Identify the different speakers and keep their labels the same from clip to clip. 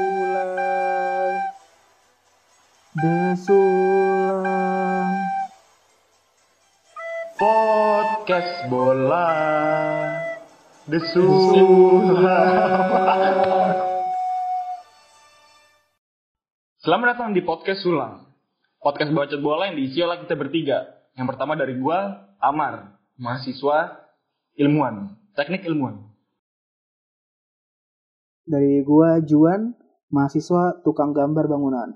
Speaker 1: Desulang
Speaker 2: Desulang
Speaker 1: Podcast bola Desulang Selamat datang di Podcast Sulang Podcast bacot bola yang diisi oleh kita bertiga Yang pertama dari gua, Amar Mahasiswa ilmuwan Teknik ilmuwan
Speaker 3: Dari gua Juan, mahasiswa tukang gambar bangunan.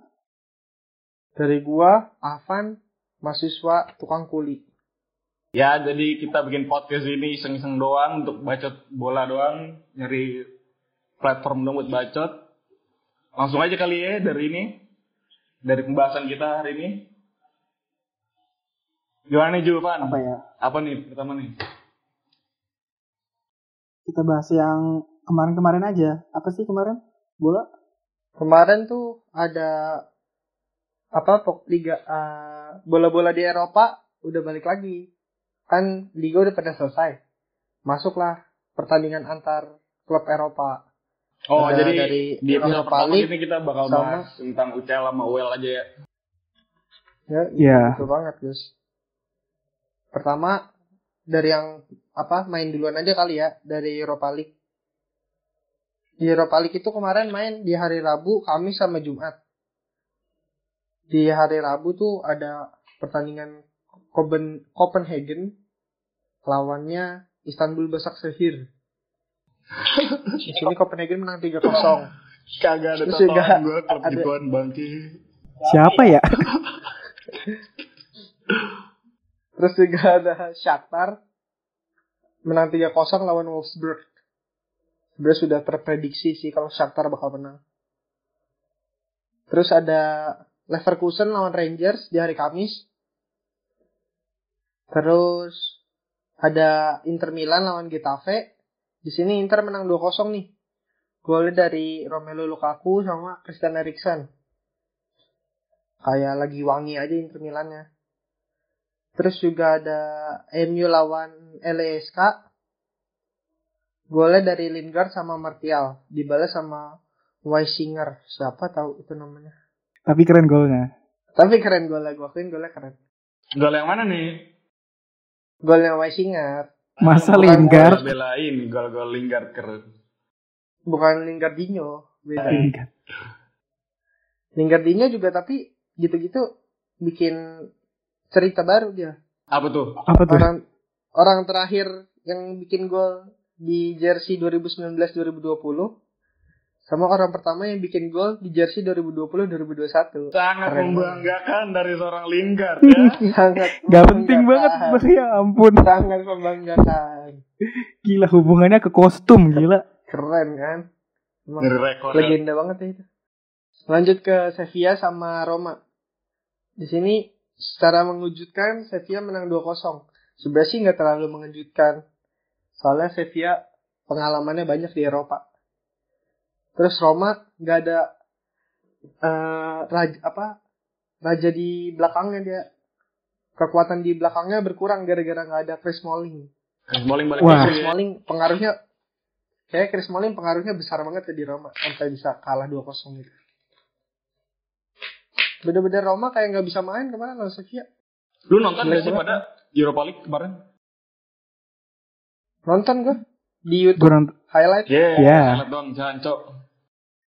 Speaker 4: Dari gua, Avan, mahasiswa tukang kuli.
Speaker 1: Ya, jadi kita bikin podcast ini iseng-iseng doang untuk bacot bola doang, nyari platform dong buat bacot. Langsung aja kali ya dari ini, dari pembahasan kita hari ini. Gimana nih Jupan?
Speaker 3: Apa ya?
Speaker 1: Apa nih pertama nih?
Speaker 3: Kita bahas yang kemarin-kemarin aja. Apa sih kemarin? Bola?
Speaker 4: Kemarin tuh ada apa pok liga eh, bola-bola di Eropa udah balik lagi. Kan liga udah pada selesai. Masuklah pertandingan antar klub Eropa.
Speaker 1: Oh,
Speaker 4: Ada
Speaker 1: jadi
Speaker 4: dari
Speaker 1: di episode
Speaker 4: Europa
Speaker 1: pertama
Speaker 4: League
Speaker 1: ini kita bakal
Speaker 4: sama-
Speaker 1: bahas tentang UCL sama UEL aja ya.
Speaker 4: Ya,
Speaker 3: Iya.
Speaker 4: Betul banget, Gus. Pertama dari yang apa main duluan aja kali ya dari Europa League. Di Europa League itu kemarin main di hari Rabu, Kamis sama Jumat. Di hari Rabu tuh ada pertandingan Copen- Copenhagen lawannya Istanbul Basaksehir. Di sini Copenhagen menang 3-0.
Speaker 1: Kagak ada
Speaker 4: Terus
Speaker 1: tontonan
Speaker 4: juga
Speaker 1: gue klub
Speaker 4: ada-
Speaker 1: gituan bangki.
Speaker 3: Siapa ya?
Speaker 4: Terus juga ada Shakhtar menang 3-0 lawan Wolfsburg. Sebenarnya sudah terprediksi sih kalau Shakhtar bakal menang. Terus ada Leverkusen lawan Rangers di hari Kamis. Terus ada Inter Milan lawan Getafe. Di sini Inter menang 2-0 nih. Golnya dari Romelu Lukaku sama Christian Eriksen. Kayak lagi wangi aja Inter Milannya. Terus juga ada MU lawan LASK. Golnya dari Lingard sama Martial. Dibalas sama Weisinger. Siapa tahu itu namanya.
Speaker 3: Tapi keren golnya.
Speaker 4: Tapi keren golnya. Gue akuin golnya keren.
Speaker 1: Gol yang mana nih?
Speaker 4: Golnya Weisinger.
Speaker 3: Masa
Speaker 4: Bukan
Speaker 3: Lingard?
Speaker 1: Belain gol-gol Lingard keren.
Speaker 4: Bukan Lingardinho. Beda.
Speaker 3: Lingard.
Speaker 4: Lingardinho juga tapi gitu-gitu bikin cerita baru dia.
Speaker 1: Apa tuh?
Speaker 3: Apa tuh?
Speaker 4: Orang, orang terakhir yang bikin gol di jersey 2019-2020 sama orang pertama yang bikin gol di jersey 2020-2021.
Speaker 1: Sangat
Speaker 4: Keren. Hmm.
Speaker 1: membanggakan dari seorang Lingard ya.
Speaker 4: sangat
Speaker 3: Gak penting banget,
Speaker 4: membanggakan.
Speaker 3: Bang. ya ampun.
Speaker 4: sangat membanggakan
Speaker 3: Gila hubungannya ke kostum, gila.
Speaker 4: keren kan Emang
Speaker 1: Dari rekor ya.
Speaker 4: legenda banget ya itu lanjut ke Sevilla sama Roma di sini secara mengejutkan Sevilla menang 2-0 sebenarnya sih nggak terlalu mengejutkan soalnya Sevilla pengalamannya banyak di Eropa terus Roma nggak ada eh, raja apa raja di belakangnya dia kekuatan di belakangnya berkurang gara-gara nggak ada Chris Smalling
Speaker 1: Chris Smalling balik
Speaker 3: Wah.
Speaker 1: lagi
Speaker 4: Chris
Speaker 1: ya.
Speaker 4: Smalling pengaruhnya kayak Chris Smalling pengaruhnya besar banget ya di Roma sampai bisa kalah 2-0 gitu. Bener-bener Roma kayak nggak bisa main kemarin lawan Sevilla.
Speaker 1: Lu nonton gak sih
Speaker 4: Jelek
Speaker 1: pada Europa League kemarin?
Speaker 4: Nonton gue di YouTube
Speaker 3: Gue nont-
Speaker 4: highlight.
Speaker 1: Iya.
Speaker 3: Iya.
Speaker 1: Lihat doang, jangan cok.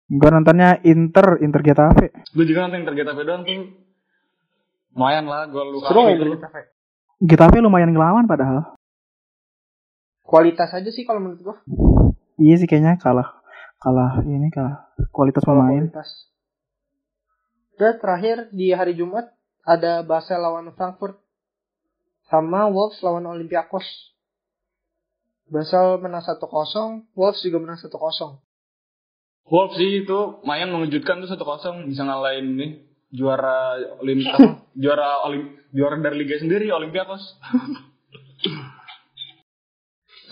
Speaker 3: gua nontonnya Inter, Inter Getafe.
Speaker 1: Lu juga nonton Inter Getafe doang tuh. Lumayan lah, gitu. gol lu
Speaker 4: Seru ya
Speaker 1: itu.
Speaker 4: dari Getafe.
Speaker 3: Getafe lumayan ngelawan padahal.
Speaker 4: Kualitas aja sih kalau menurut gue.
Speaker 3: Iya sih kayaknya kalah. Kalah ini kalah kualitas pemain.
Speaker 4: Kualitas. Dan terakhir di hari Jumat ada Basel lawan Frankfurt sama Wolves lawan Olympiakos. Basel menang 1-0, Wolves juga menang 1-0.
Speaker 1: Wolves sih itu lumayan mengejutkan tuh 1-0 bisa ngalahin nih juara Olim apa? juara Olim juara dari liga sendiri Olympiakos.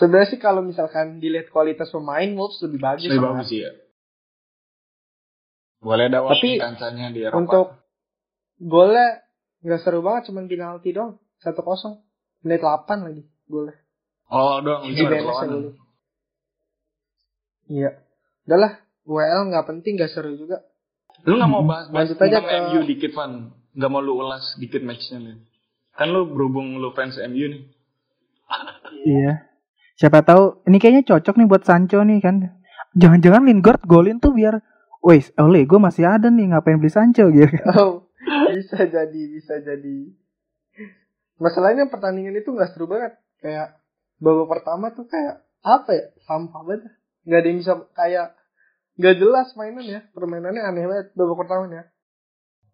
Speaker 4: Sebenarnya sih kalau misalkan dilihat kualitas pemain Wolves lebih bagus.
Speaker 1: Lebih
Speaker 4: Bang.
Speaker 1: bagus sih ya. Boleh ada
Speaker 4: Tapi,
Speaker 1: Tapi kancahnya di Eropa.
Speaker 4: Untuk golnya nggak seru banget, cuman penalti dong. 1-0. Menit 8 lagi golnya.
Speaker 1: oh doang
Speaker 4: Di
Speaker 1: bisa ada
Speaker 4: Benes ya
Speaker 1: perlawanan.
Speaker 4: golnya. Iya. Udah lah, UEL nggak penting, nggak seru juga.
Speaker 1: Lu nggak mau bahas bahas
Speaker 4: Lanjut aja
Speaker 1: tentang
Speaker 4: ke-
Speaker 1: MU dikit Van? Nggak mau lu ulas dikit matchnya nih? Kan lu berhubung lu fans MU nih.
Speaker 3: Iya. Siapa tahu ini kayaknya cocok nih buat Sancho nih kan. Jangan-jangan Lingard golin tuh biar Wes, oleh gue masih ada nih ngapain beli Sancho gitu. kan.
Speaker 4: Oh, bisa jadi, bisa jadi. Masalahnya pertandingan itu nggak seru banget. Kayak babak pertama tuh kayak apa ya? Sampah banget. Nggak ada yang bisa kayak nggak jelas mainannya. Permainannya aneh banget babak pertamanya.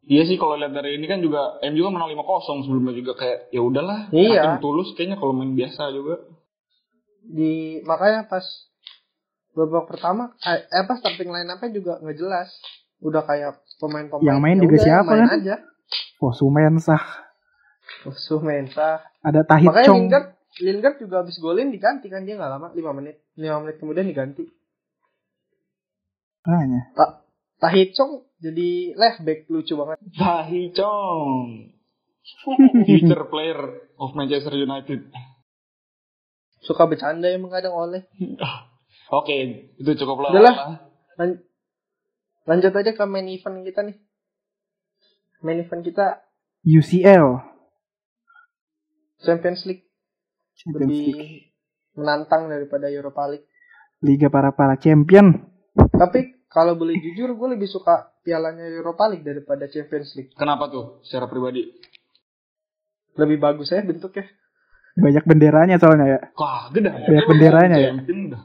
Speaker 1: Iya sih kalau lihat dari ini kan juga MU kan menang 5-0 sebelumnya juga kayak ya udahlah.
Speaker 4: Iya.
Speaker 1: Makin tulus kayaknya kalau main biasa juga.
Speaker 4: Di makanya pas babak pertama eh eh, apa starting line up-nya juga nggak jelas. Udah kayak pemain-pemain
Speaker 3: Yang main
Speaker 4: ya
Speaker 3: juga
Speaker 4: udah,
Speaker 3: siapa
Speaker 4: main
Speaker 3: kan?
Speaker 4: aja.
Speaker 3: Wah, Sumen sah.
Speaker 4: Musuh mentah.
Speaker 3: Ada Tahit
Speaker 4: Makanya
Speaker 3: Chong.
Speaker 4: Lingard, Lingard juga habis golin diganti kan dia nggak lama 5 menit. 5 menit kemudian diganti.
Speaker 3: Makanya.
Speaker 4: Tahit Chong jadi left back lucu banget.
Speaker 1: Tahi Chong. Future player of Manchester United.
Speaker 4: Suka bercanda emang kadang oleh.
Speaker 1: Oke, itu cukup lah.
Speaker 4: Udah lah. Lan- Lanjut aja ke main event kita nih. Main event kita
Speaker 3: UCL.
Speaker 4: Champions League
Speaker 3: Champions
Speaker 4: lebih
Speaker 3: League.
Speaker 4: menantang daripada Europa League.
Speaker 3: Liga para para champion.
Speaker 4: Tapi kalau boleh jujur gue lebih suka pialanya Europa League daripada Champions League.
Speaker 1: Kenapa tuh secara pribadi?
Speaker 4: Lebih bagus aja bentuknya.
Speaker 3: Banyak benderanya soalnya ya.
Speaker 1: Wah, gede.
Speaker 3: Banyak benderanya ya?
Speaker 1: Champion dah.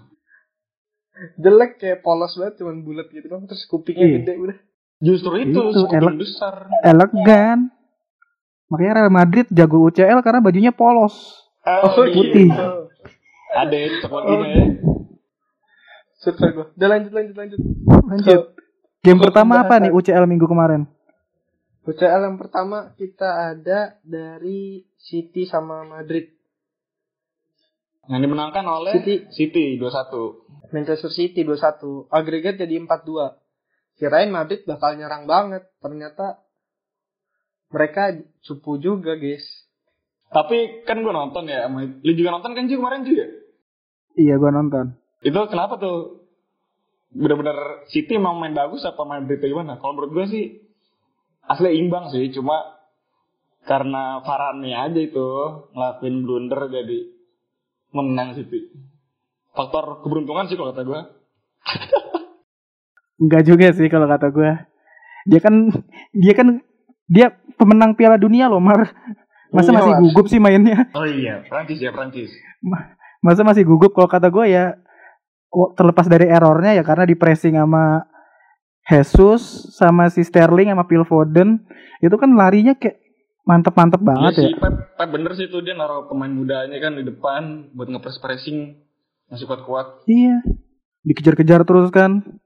Speaker 4: Jelek kayak polos banget cuman bulat gitu dong terus kupingnya
Speaker 3: Iya.
Speaker 4: gede udah.
Speaker 1: Justru itu,
Speaker 3: Itu,
Speaker 1: skupin
Speaker 3: elek.
Speaker 1: besar.
Speaker 3: Elegan. Makanya Real Madrid jago UCL karena bajunya polos.
Speaker 1: Oh,
Speaker 4: gitu.
Speaker 3: putih.
Speaker 1: iya. Ada yang cocok lagi ya.
Speaker 4: Surfer gue. Udah lanjut lanjut lanjut.
Speaker 3: Lanjut. Game
Speaker 4: Kok
Speaker 3: pertama apa
Speaker 4: pembahasan?
Speaker 3: nih UCL minggu kemarin?
Speaker 4: UCL yang pertama kita ada dari City sama Madrid.
Speaker 1: Yang dimenangkan oleh
Speaker 4: City.
Speaker 1: City 2-1.
Speaker 4: Manchester City 2-1. Agregat jadi 4-2. Kirain Madrid bakal nyerang banget. Ternyata mereka cupu juga guys.
Speaker 1: Tapi kan gue nonton ya, sama- lu juga nonton kan Ji kemarin juga.
Speaker 3: Iya, gua nonton.
Speaker 1: Itu kenapa tuh? Bener-bener City emang main bagus apa Madrid atau gimana? Kalau menurut gue sih asli imbang sih, cuma karena Varane aja itu ngelakuin blunder jadi menang City. Faktor keberuntungan sih kalau kata gue.
Speaker 3: Enggak juga sih kalau kata gua. Dia kan dia kan dia pemenang Piala Dunia loh, Mar. Masa
Speaker 4: Iya,
Speaker 3: masih
Speaker 4: Mar.
Speaker 3: gugup sih mainnya?
Speaker 1: Oh iya, Prancis ya Prancis.
Speaker 3: Masa masih gugup kalau kata gua ya oh, terlepas dari errornya ya karena di pressing sama Jesus sama si Sterling sama Phil Foden itu kan larinya kayak mantep-mantep
Speaker 1: Iya
Speaker 3: banget ya.
Speaker 1: sih, Pep, Pep bener sih itu dia naruh pemain mudanya kan di depan buat ngepres pressing masih kuat-kuat.
Speaker 3: Iya. Dikejar-kejar terus kan.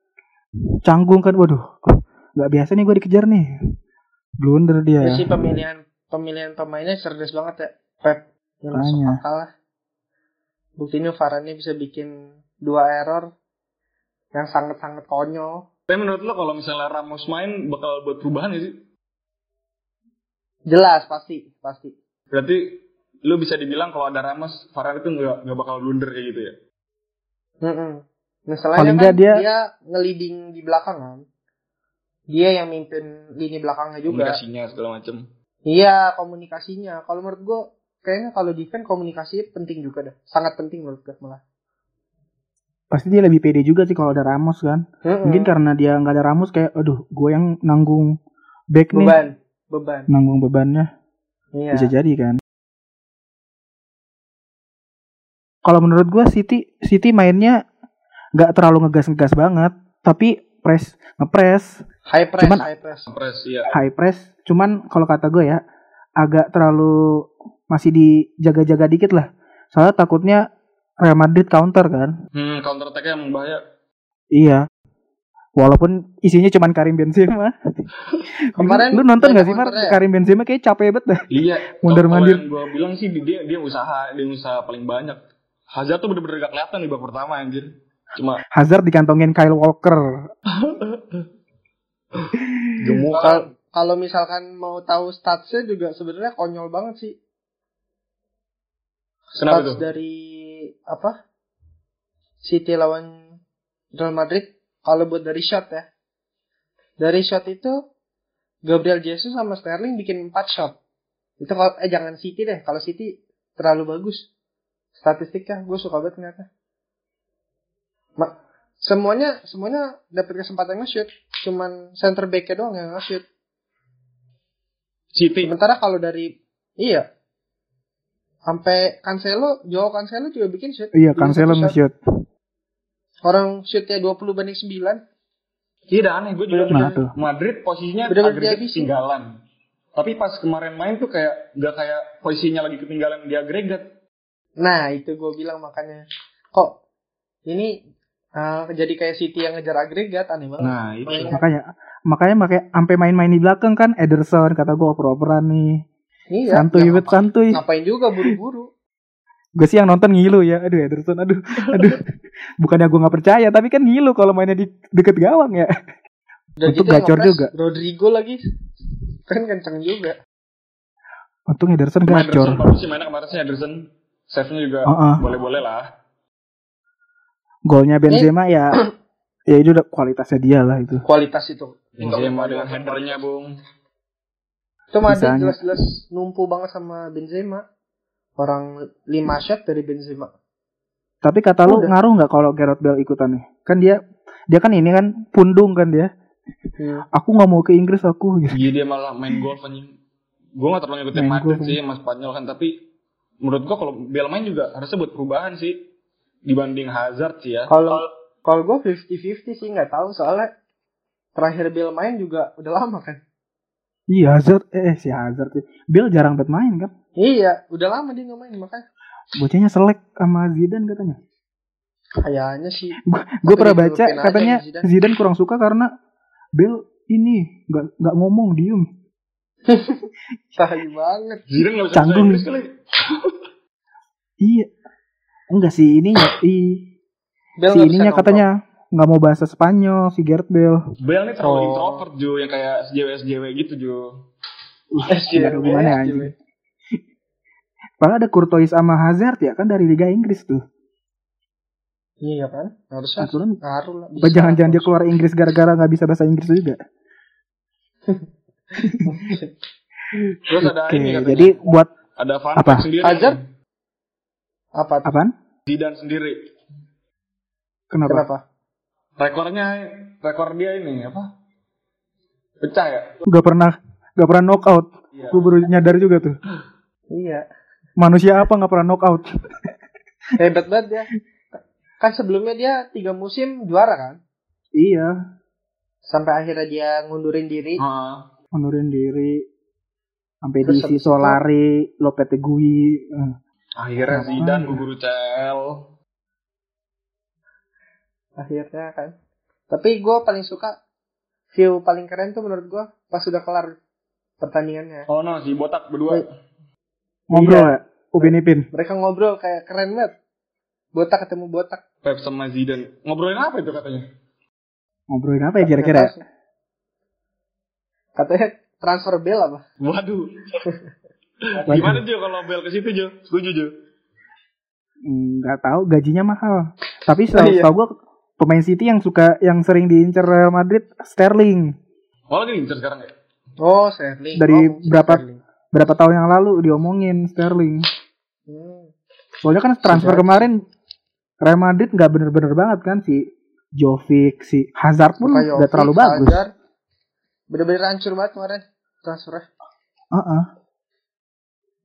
Speaker 3: Canggung kan. Waduh. nggak biasa nih gue dikejar nih. Blunder
Speaker 4: Terus
Speaker 3: dia. ya.
Speaker 4: sih pemilihan pemilihan pemainnya cerdas banget ya. Pep yang
Speaker 3: Makanya.
Speaker 4: masuk akal lah. Buktinya Varane bisa bikin dua error yang sangat-sangat konyol.
Speaker 1: Tapi menurut lo kalau misalnya Ramos main bakal buat perubahan ya sih?
Speaker 4: Jelas pasti, pasti.
Speaker 1: Berarti lo bisa dibilang kalau ada Ramos, Varane itu nggak nggak bakal blunder kayak gitu ya?
Speaker 4: Mm-mm. Masalahnya
Speaker 3: Paling
Speaker 4: kan
Speaker 3: nggak
Speaker 4: dia...
Speaker 3: dia-
Speaker 4: ngeliding di belakang kan. Dia yang mimpin lini belakangnya juga.
Speaker 1: Komunikasinya segala macem.
Speaker 4: Iya, komunikasinya. Kalau menurut gue, kayaknya kalau defense komunikasi penting juga dah. Sangat penting menurut gue malah.
Speaker 3: Pasti dia lebih pede juga sih kalau ada Ramos kan.
Speaker 4: Mm-mm.
Speaker 3: Mungkin karena dia nggak ada Ramos kayak aduh gue yang nanggung back nih.
Speaker 4: beban, beban.
Speaker 3: Nanggung bebannya.
Speaker 4: Iya.
Speaker 3: Bisa jadi kan. Kalau menurut gue City City mainnya nggak terlalu ngegas-ngegas banget, tapi press ngepres
Speaker 4: High press,
Speaker 3: Cuman-
Speaker 4: high press.
Speaker 1: Press ya.
Speaker 3: high press. Cuman kalau kata gue ya agak terlalu masih dijaga-jaga dikit lah. Soalnya takutnya Real Madrid counter kan.
Speaker 1: Hmm, counter attack-nya emang bahaya.
Speaker 3: Iya. Walaupun isinya cuman Karim Benzema.
Speaker 4: Kemarin
Speaker 3: lu nonton gak
Speaker 4: ada
Speaker 3: sih Mar?
Speaker 4: counternya.
Speaker 3: Karim Benzema kayak capek banget dah.
Speaker 1: Iya.
Speaker 3: Mondar-mandir.
Speaker 1: Gue bilang sih dia dia usaha, dia usaha paling banyak. Hazard tuh bener-bener gak kelihatan di babak pertama anjir. Cuma
Speaker 3: Hazard dikantongin Kyle Walker.
Speaker 1: gemukan.
Speaker 4: Kalau- Kalau misalkan mau tahu statsnya juga sebenarnya konyol banget sih.
Speaker 1: Kenapa tuh?
Speaker 4: Stats dari apa? City lawan Real Madrid kalau buat dari shot ya. Dari shot itu Gabriel Jesus sama Sterling bikin 4 shot. Itu kalau eh jangan City deh, kalau City terlalu bagus. Statistiknya gue suka banget ternyata. Ma- semuanya semuanya dapat kesempatan nge-shoot, cuman center back-nya doang yang nge-shoot.
Speaker 1: City
Speaker 4: Sementara kalau dari iya sampai Cancelo, Joao Cancelo juga bikin shoot.
Speaker 3: Iya,
Speaker 4: Bikin
Speaker 3: Cancelo
Speaker 4: satu shot.
Speaker 3: nge-shoot.
Speaker 4: Orang shootnya 20 banding 9.
Speaker 1: Iya dah aneh, gue juga
Speaker 3: Nah,
Speaker 1: mikir,
Speaker 3: tuh.
Speaker 1: Madrid posisinya
Speaker 4: Bener-bener
Speaker 1: agregat
Speaker 4: dihabisin.
Speaker 1: ketinggalan. Tapi pas kemarin main tuh kayak nggak kayak posisinya lagi ketinggalan di agregat.
Speaker 4: Nah, itu gue bilang makanya. Kok ini eh, jadi kayak City yang ngejar agregat aneh banget.
Speaker 1: Nah itu.
Speaker 4: Makanya-
Speaker 3: Makanya makanya makanya sampai main-main di belakang kan Ederson kata gue oper-operan nih.
Speaker 4: Iya,
Speaker 3: Santuy
Speaker 4: ya
Speaker 3: bet
Speaker 4: ngapa-
Speaker 3: santuy.
Speaker 4: Ngapain juga buru-buru.
Speaker 3: Gue sih yang nonton ngilu ya. Aduh Ederson aduh. Aduh. Bukannya gue nggak percaya tapi kan ngilu kalau mainnya di deket gawang ya.
Speaker 4: Udah
Speaker 3: Untuk
Speaker 4: gitu yang
Speaker 3: gacor
Speaker 4: ngepres,
Speaker 3: juga.
Speaker 4: Rodrigo lagi. Kan kenceng juga.
Speaker 3: Untung Ederson
Speaker 1: Cuma Ederson
Speaker 3: gacor.
Speaker 1: bagus sih mainnya kemarin sih Ederson. Save-nya juga
Speaker 3: Heeh.
Speaker 1: boleh-boleh lah.
Speaker 3: Golnya Benzema ya ya itu udah kualitasnya dia lah itu.
Speaker 4: Kualitas itu.
Speaker 1: Benzema dengan headernya bung.
Speaker 4: Itu Madrid
Speaker 3: Sisanya.
Speaker 4: jelas-jelas numpu banget sama Benzema. Orang 5 shot dari Benzema.
Speaker 3: Tapi kata lu
Speaker 4: Udah.
Speaker 3: ngaruh nggak kalau Gareth Bale ikutan nih? Kan dia dia kan ini kan pundung kan dia. Aku nggak mau ke Inggris aku gitu.
Speaker 1: Iya dia malah main golf anjing. Gue gak terlalu ngikutin
Speaker 3: Main
Speaker 1: Madrid
Speaker 3: golf.
Speaker 1: sih mas Spanyol kan tapi menurut gue kalau Bale main juga harusnya buat perubahan sih dibanding Hazard sih ya.
Speaker 4: Kalau kalau gue 50-50 sih nggak tahu soalnya terakhir Bill main juga udah lama kan.
Speaker 3: Iya Hazard, eh eh, si Hazard sih. Bill jarang banget main kan.
Speaker 4: Iya, udah lama dia nggak main makanya
Speaker 3: Bocahnya selek sama Zidane katanya.
Speaker 4: kayaknya sih.
Speaker 3: Gue
Speaker 4: Tapi
Speaker 3: pernah
Speaker 4: dia
Speaker 3: baca
Speaker 4: nutupin aja
Speaker 3: katanya
Speaker 4: sama
Speaker 3: Zidane.
Speaker 4: Zidane.
Speaker 3: kurang suka karena Bill ini nggak nggak ngomong diem.
Speaker 4: Tahi banget.
Speaker 1: Zidane nggak bisa bahasa
Speaker 3: Canggung.
Speaker 1: Inggris kali.
Speaker 3: Iya. Enggak sih ininya i si
Speaker 4: Bill nggak bisa
Speaker 3: ininya
Speaker 4: nongkrong.
Speaker 3: katanya nggak mau bahasa Spanyol si Gareth Bale.
Speaker 1: Bale nih terlalu
Speaker 4: Oh.
Speaker 1: introvert Ju yang kayak SJW SJW gitu Ju.
Speaker 4: SJW,
Speaker 3: Eh, Gimana hubungannya
Speaker 4: SJW.
Speaker 3: anjing. Padahal ada Courtois sama Hazard ya kan dari Liga Inggris tuh.
Speaker 4: Iya kan? Harusnya
Speaker 3: Aturan
Speaker 4: ngaruh lah.
Speaker 3: Apa jangan-jangan dia keluar Inggris gara-gara nggak bisa bahasa Inggris juga.
Speaker 1: Terus ada
Speaker 4: Nah,
Speaker 3: Oke,
Speaker 1: ini katanya.
Speaker 3: jadi buat
Speaker 1: ada fun
Speaker 3: Apa?
Speaker 1: fact sendiri.
Speaker 4: Hazard? Apa? tuh?
Speaker 3: apaan?
Speaker 1: Zidane sendiri.
Speaker 3: Kenapa?
Speaker 4: Kenapa?
Speaker 1: Rekornya rekor dia ini apa? Pecah ya?
Speaker 3: Gak pernah gak pernah knockout. Gue baru nyadar juga tuh.
Speaker 4: Iya.
Speaker 3: Manusia apa nggak pernah knockout?
Speaker 4: Hebat banget dia. Kan sebelumnya dia tiga musim juara kan?
Speaker 3: iya,
Speaker 4: Sampai akhirnya dia ngundurin diri.
Speaker 1: Heeh.
Speaker 3: mundurin diri sampai
Speaker 4: Terus
Speaker 3: diisi
Speaker 4: habis itu- Iya.
Speaker 3: Solari, Lopetegui. Eh,
Speaker 1: akhirnya
Speaker 3: Kenapa?
Speaker 1: Zidane gugur UCL.
Speaker 4: Akhirnya kan. Tapi gue paling suka view paling keren tuh menurut gue pas sudah kelar pertandingannya.
Speaker 1: Oh no, si botak berdua.
Speaker 3: Ngobrol ya, Upin Ipin.
Speaker 4: Mereka ngobrol kayak keren banget. Botak ketemu botak.
Speaker 1: Pep sama Zidane. Ngobrolin apa itu katanya?
Speaker 3: Ngobrolin apa ya kira-kira?
Speaker 4: Katanya transfer Bale apa?
Speaker 1: Waduh.
Speaker 3: Waduh.
Speaker 1: Gimana Jo kalau Bale ke situ Jo? Setuju Jo.
Speaker 3: Nggak tahu, gajinya mahal. Tapi setahu
Speaker 4: Oh, iya.
Speaker 3: setahu gue pemain City yang suka yang sering diincar Real Madrid Sterling.
Speaker 1: Oh lagi diincar sekarang ya?
Speaker 4: Oh, Sterling.
Speaker 3: Dari
Speaker 4: Oh, mungkin
Speaker 3: berapa-
Speaker 4: Sterling.
Speaker 3: Berapa tahun yang lalu diomongin Sterling.
Speaker 4: Hmm.
Speaker 3: Soalnya kan transfer
Speaker 4: Sudah.
Speaker 3: kemarin Real Madrid nggak bener-bener banget kan si Jovic, si Hazard pun
Speaker 4: Bukayo,
Speaker 3: nggak terlalu
Speaker 4: Fitz,
Speaker 3: bagus.
Speaker 4: Hazard. Bener-bener hancur banget kemarin transfernya.
Speaker 3: Heeh.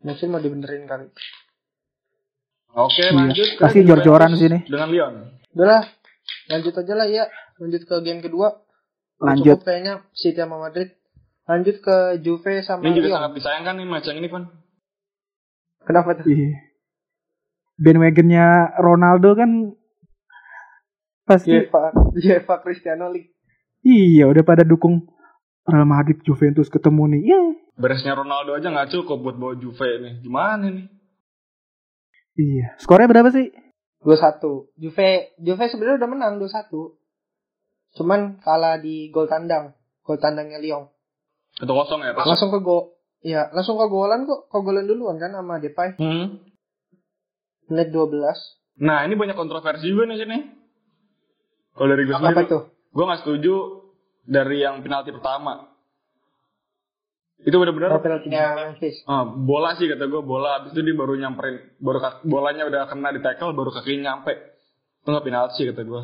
Speaker 4: Mungkin mau dibenerin kali.
Speaker 1: Oke
Speaker 3: Iya.
Speaker 1: lanjut. ke
Speaker 3: Kasih
Speaker 1: Juventus
Speaker 3: jor-joran sini.
Speaker 1: Dengan Lyon.
Speaker 4: Udah lah, lanjut aja lah ya. Lanjut ke game kedua. Udah
Speaker 3: Lanjut.
Speaker 4: Cukup kayaknya City sama Madrid. Lanjut ke Juve sama
Speaker 1: Ini juga
Speaker 4: Lyon.
Speaker 1: sangat disayangkan nih match yang ini kan.
Speaker 4: Kenapa tuh?
Speaker 3: Iya. Bandwagonnya Ronaldo kan pasti
Speaker 4: UEFA, UEFA Iya. Cristiano League.
Speaker 3: iya udah pada dukung Real Madrid Juventus ketemu nih. Iya.
Speaker 1: Beresnya Ronaldo aja nggak cukup buat bawa Juve nih. Gimana nih?
Speaker 3: Iya. Skornya berapa sih?
Speaker 4: 2-1. Juve Juve sebenarnya udah menang 2-1. Cuman kalah di gol tandang. Gol tandangnya Lyon.
Speaker 1: Satu kosong ya pas.
Speaker 4: Langsung ke gol. Ya, langsung ke golan kok. Ke golan duluan kan sama Depay.
Speaker 1: Hmm.
Speaker 4: Menit 12.
Speaker 1: Nah ini banyak kontroversi juga nih sini. Kalau dari gue sendiri,
Speaker 4: Apa tuh?
Speaker 1: Gue nggak setuju dari yang penalti pertama. Itu
Speaker 4: Oh,
Speaker 1: benar-benar
Speaker 4: penaltinya Memphis.
Speaker 1: ah, bola sih kata gue bola. Abis itu dia baru nyamperin, baru kak- bolanya udah kena di tackle, baru kakinya nyampe. Itu nggak penalti sih kata gue.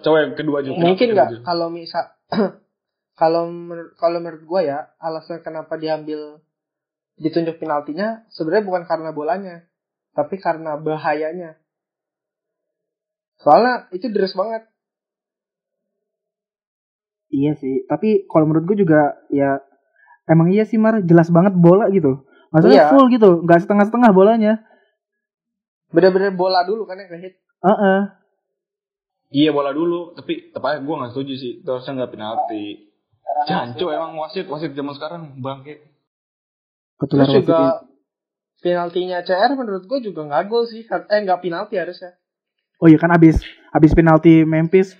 Speaker 1: Coba yang kedua aja.
Speaker 4: Mungkin
Speaker 1: penalti
Speaker 4: nggak
Speaker 1: kedua aja.
Speaker 4: kalau misal kalau menur- kalau menurut gue ya alasan kenapa diambil ditunjuk penaltinya sebenarnya bukan karena bolanya tapi karena bahayanya. Soalnya itu deres banget.
Speaker 3: Iya sih, tapi kalau menurut gue juga ya emang iya sih Mar, jelas banget bola gitu. Maksudnya
Speaker 4: Iya.
Speaker 3: full gitu, nggak setengah-setengah bolanya.
Speaker 4: Bener-bener bola dulu kan yang hit.
Speaker 3: Heeh.
Speaker 1: Iya bola dulu, tapi tepatnya gue nggak setuju sih. Itu harusnya nggak penalti. Jancu emang wasit wasit zaman sekarang bangke.
Speaker 3: Ketular
Speaker 4: Terus juga
Speaker 3: wasitnya.
Speaker 4: penaltinya CR menurut gue juga nggak gol sih. Eh nggak penalti harusnya.
Speaker 3: Oh iya kan abis abis penalti Memphis,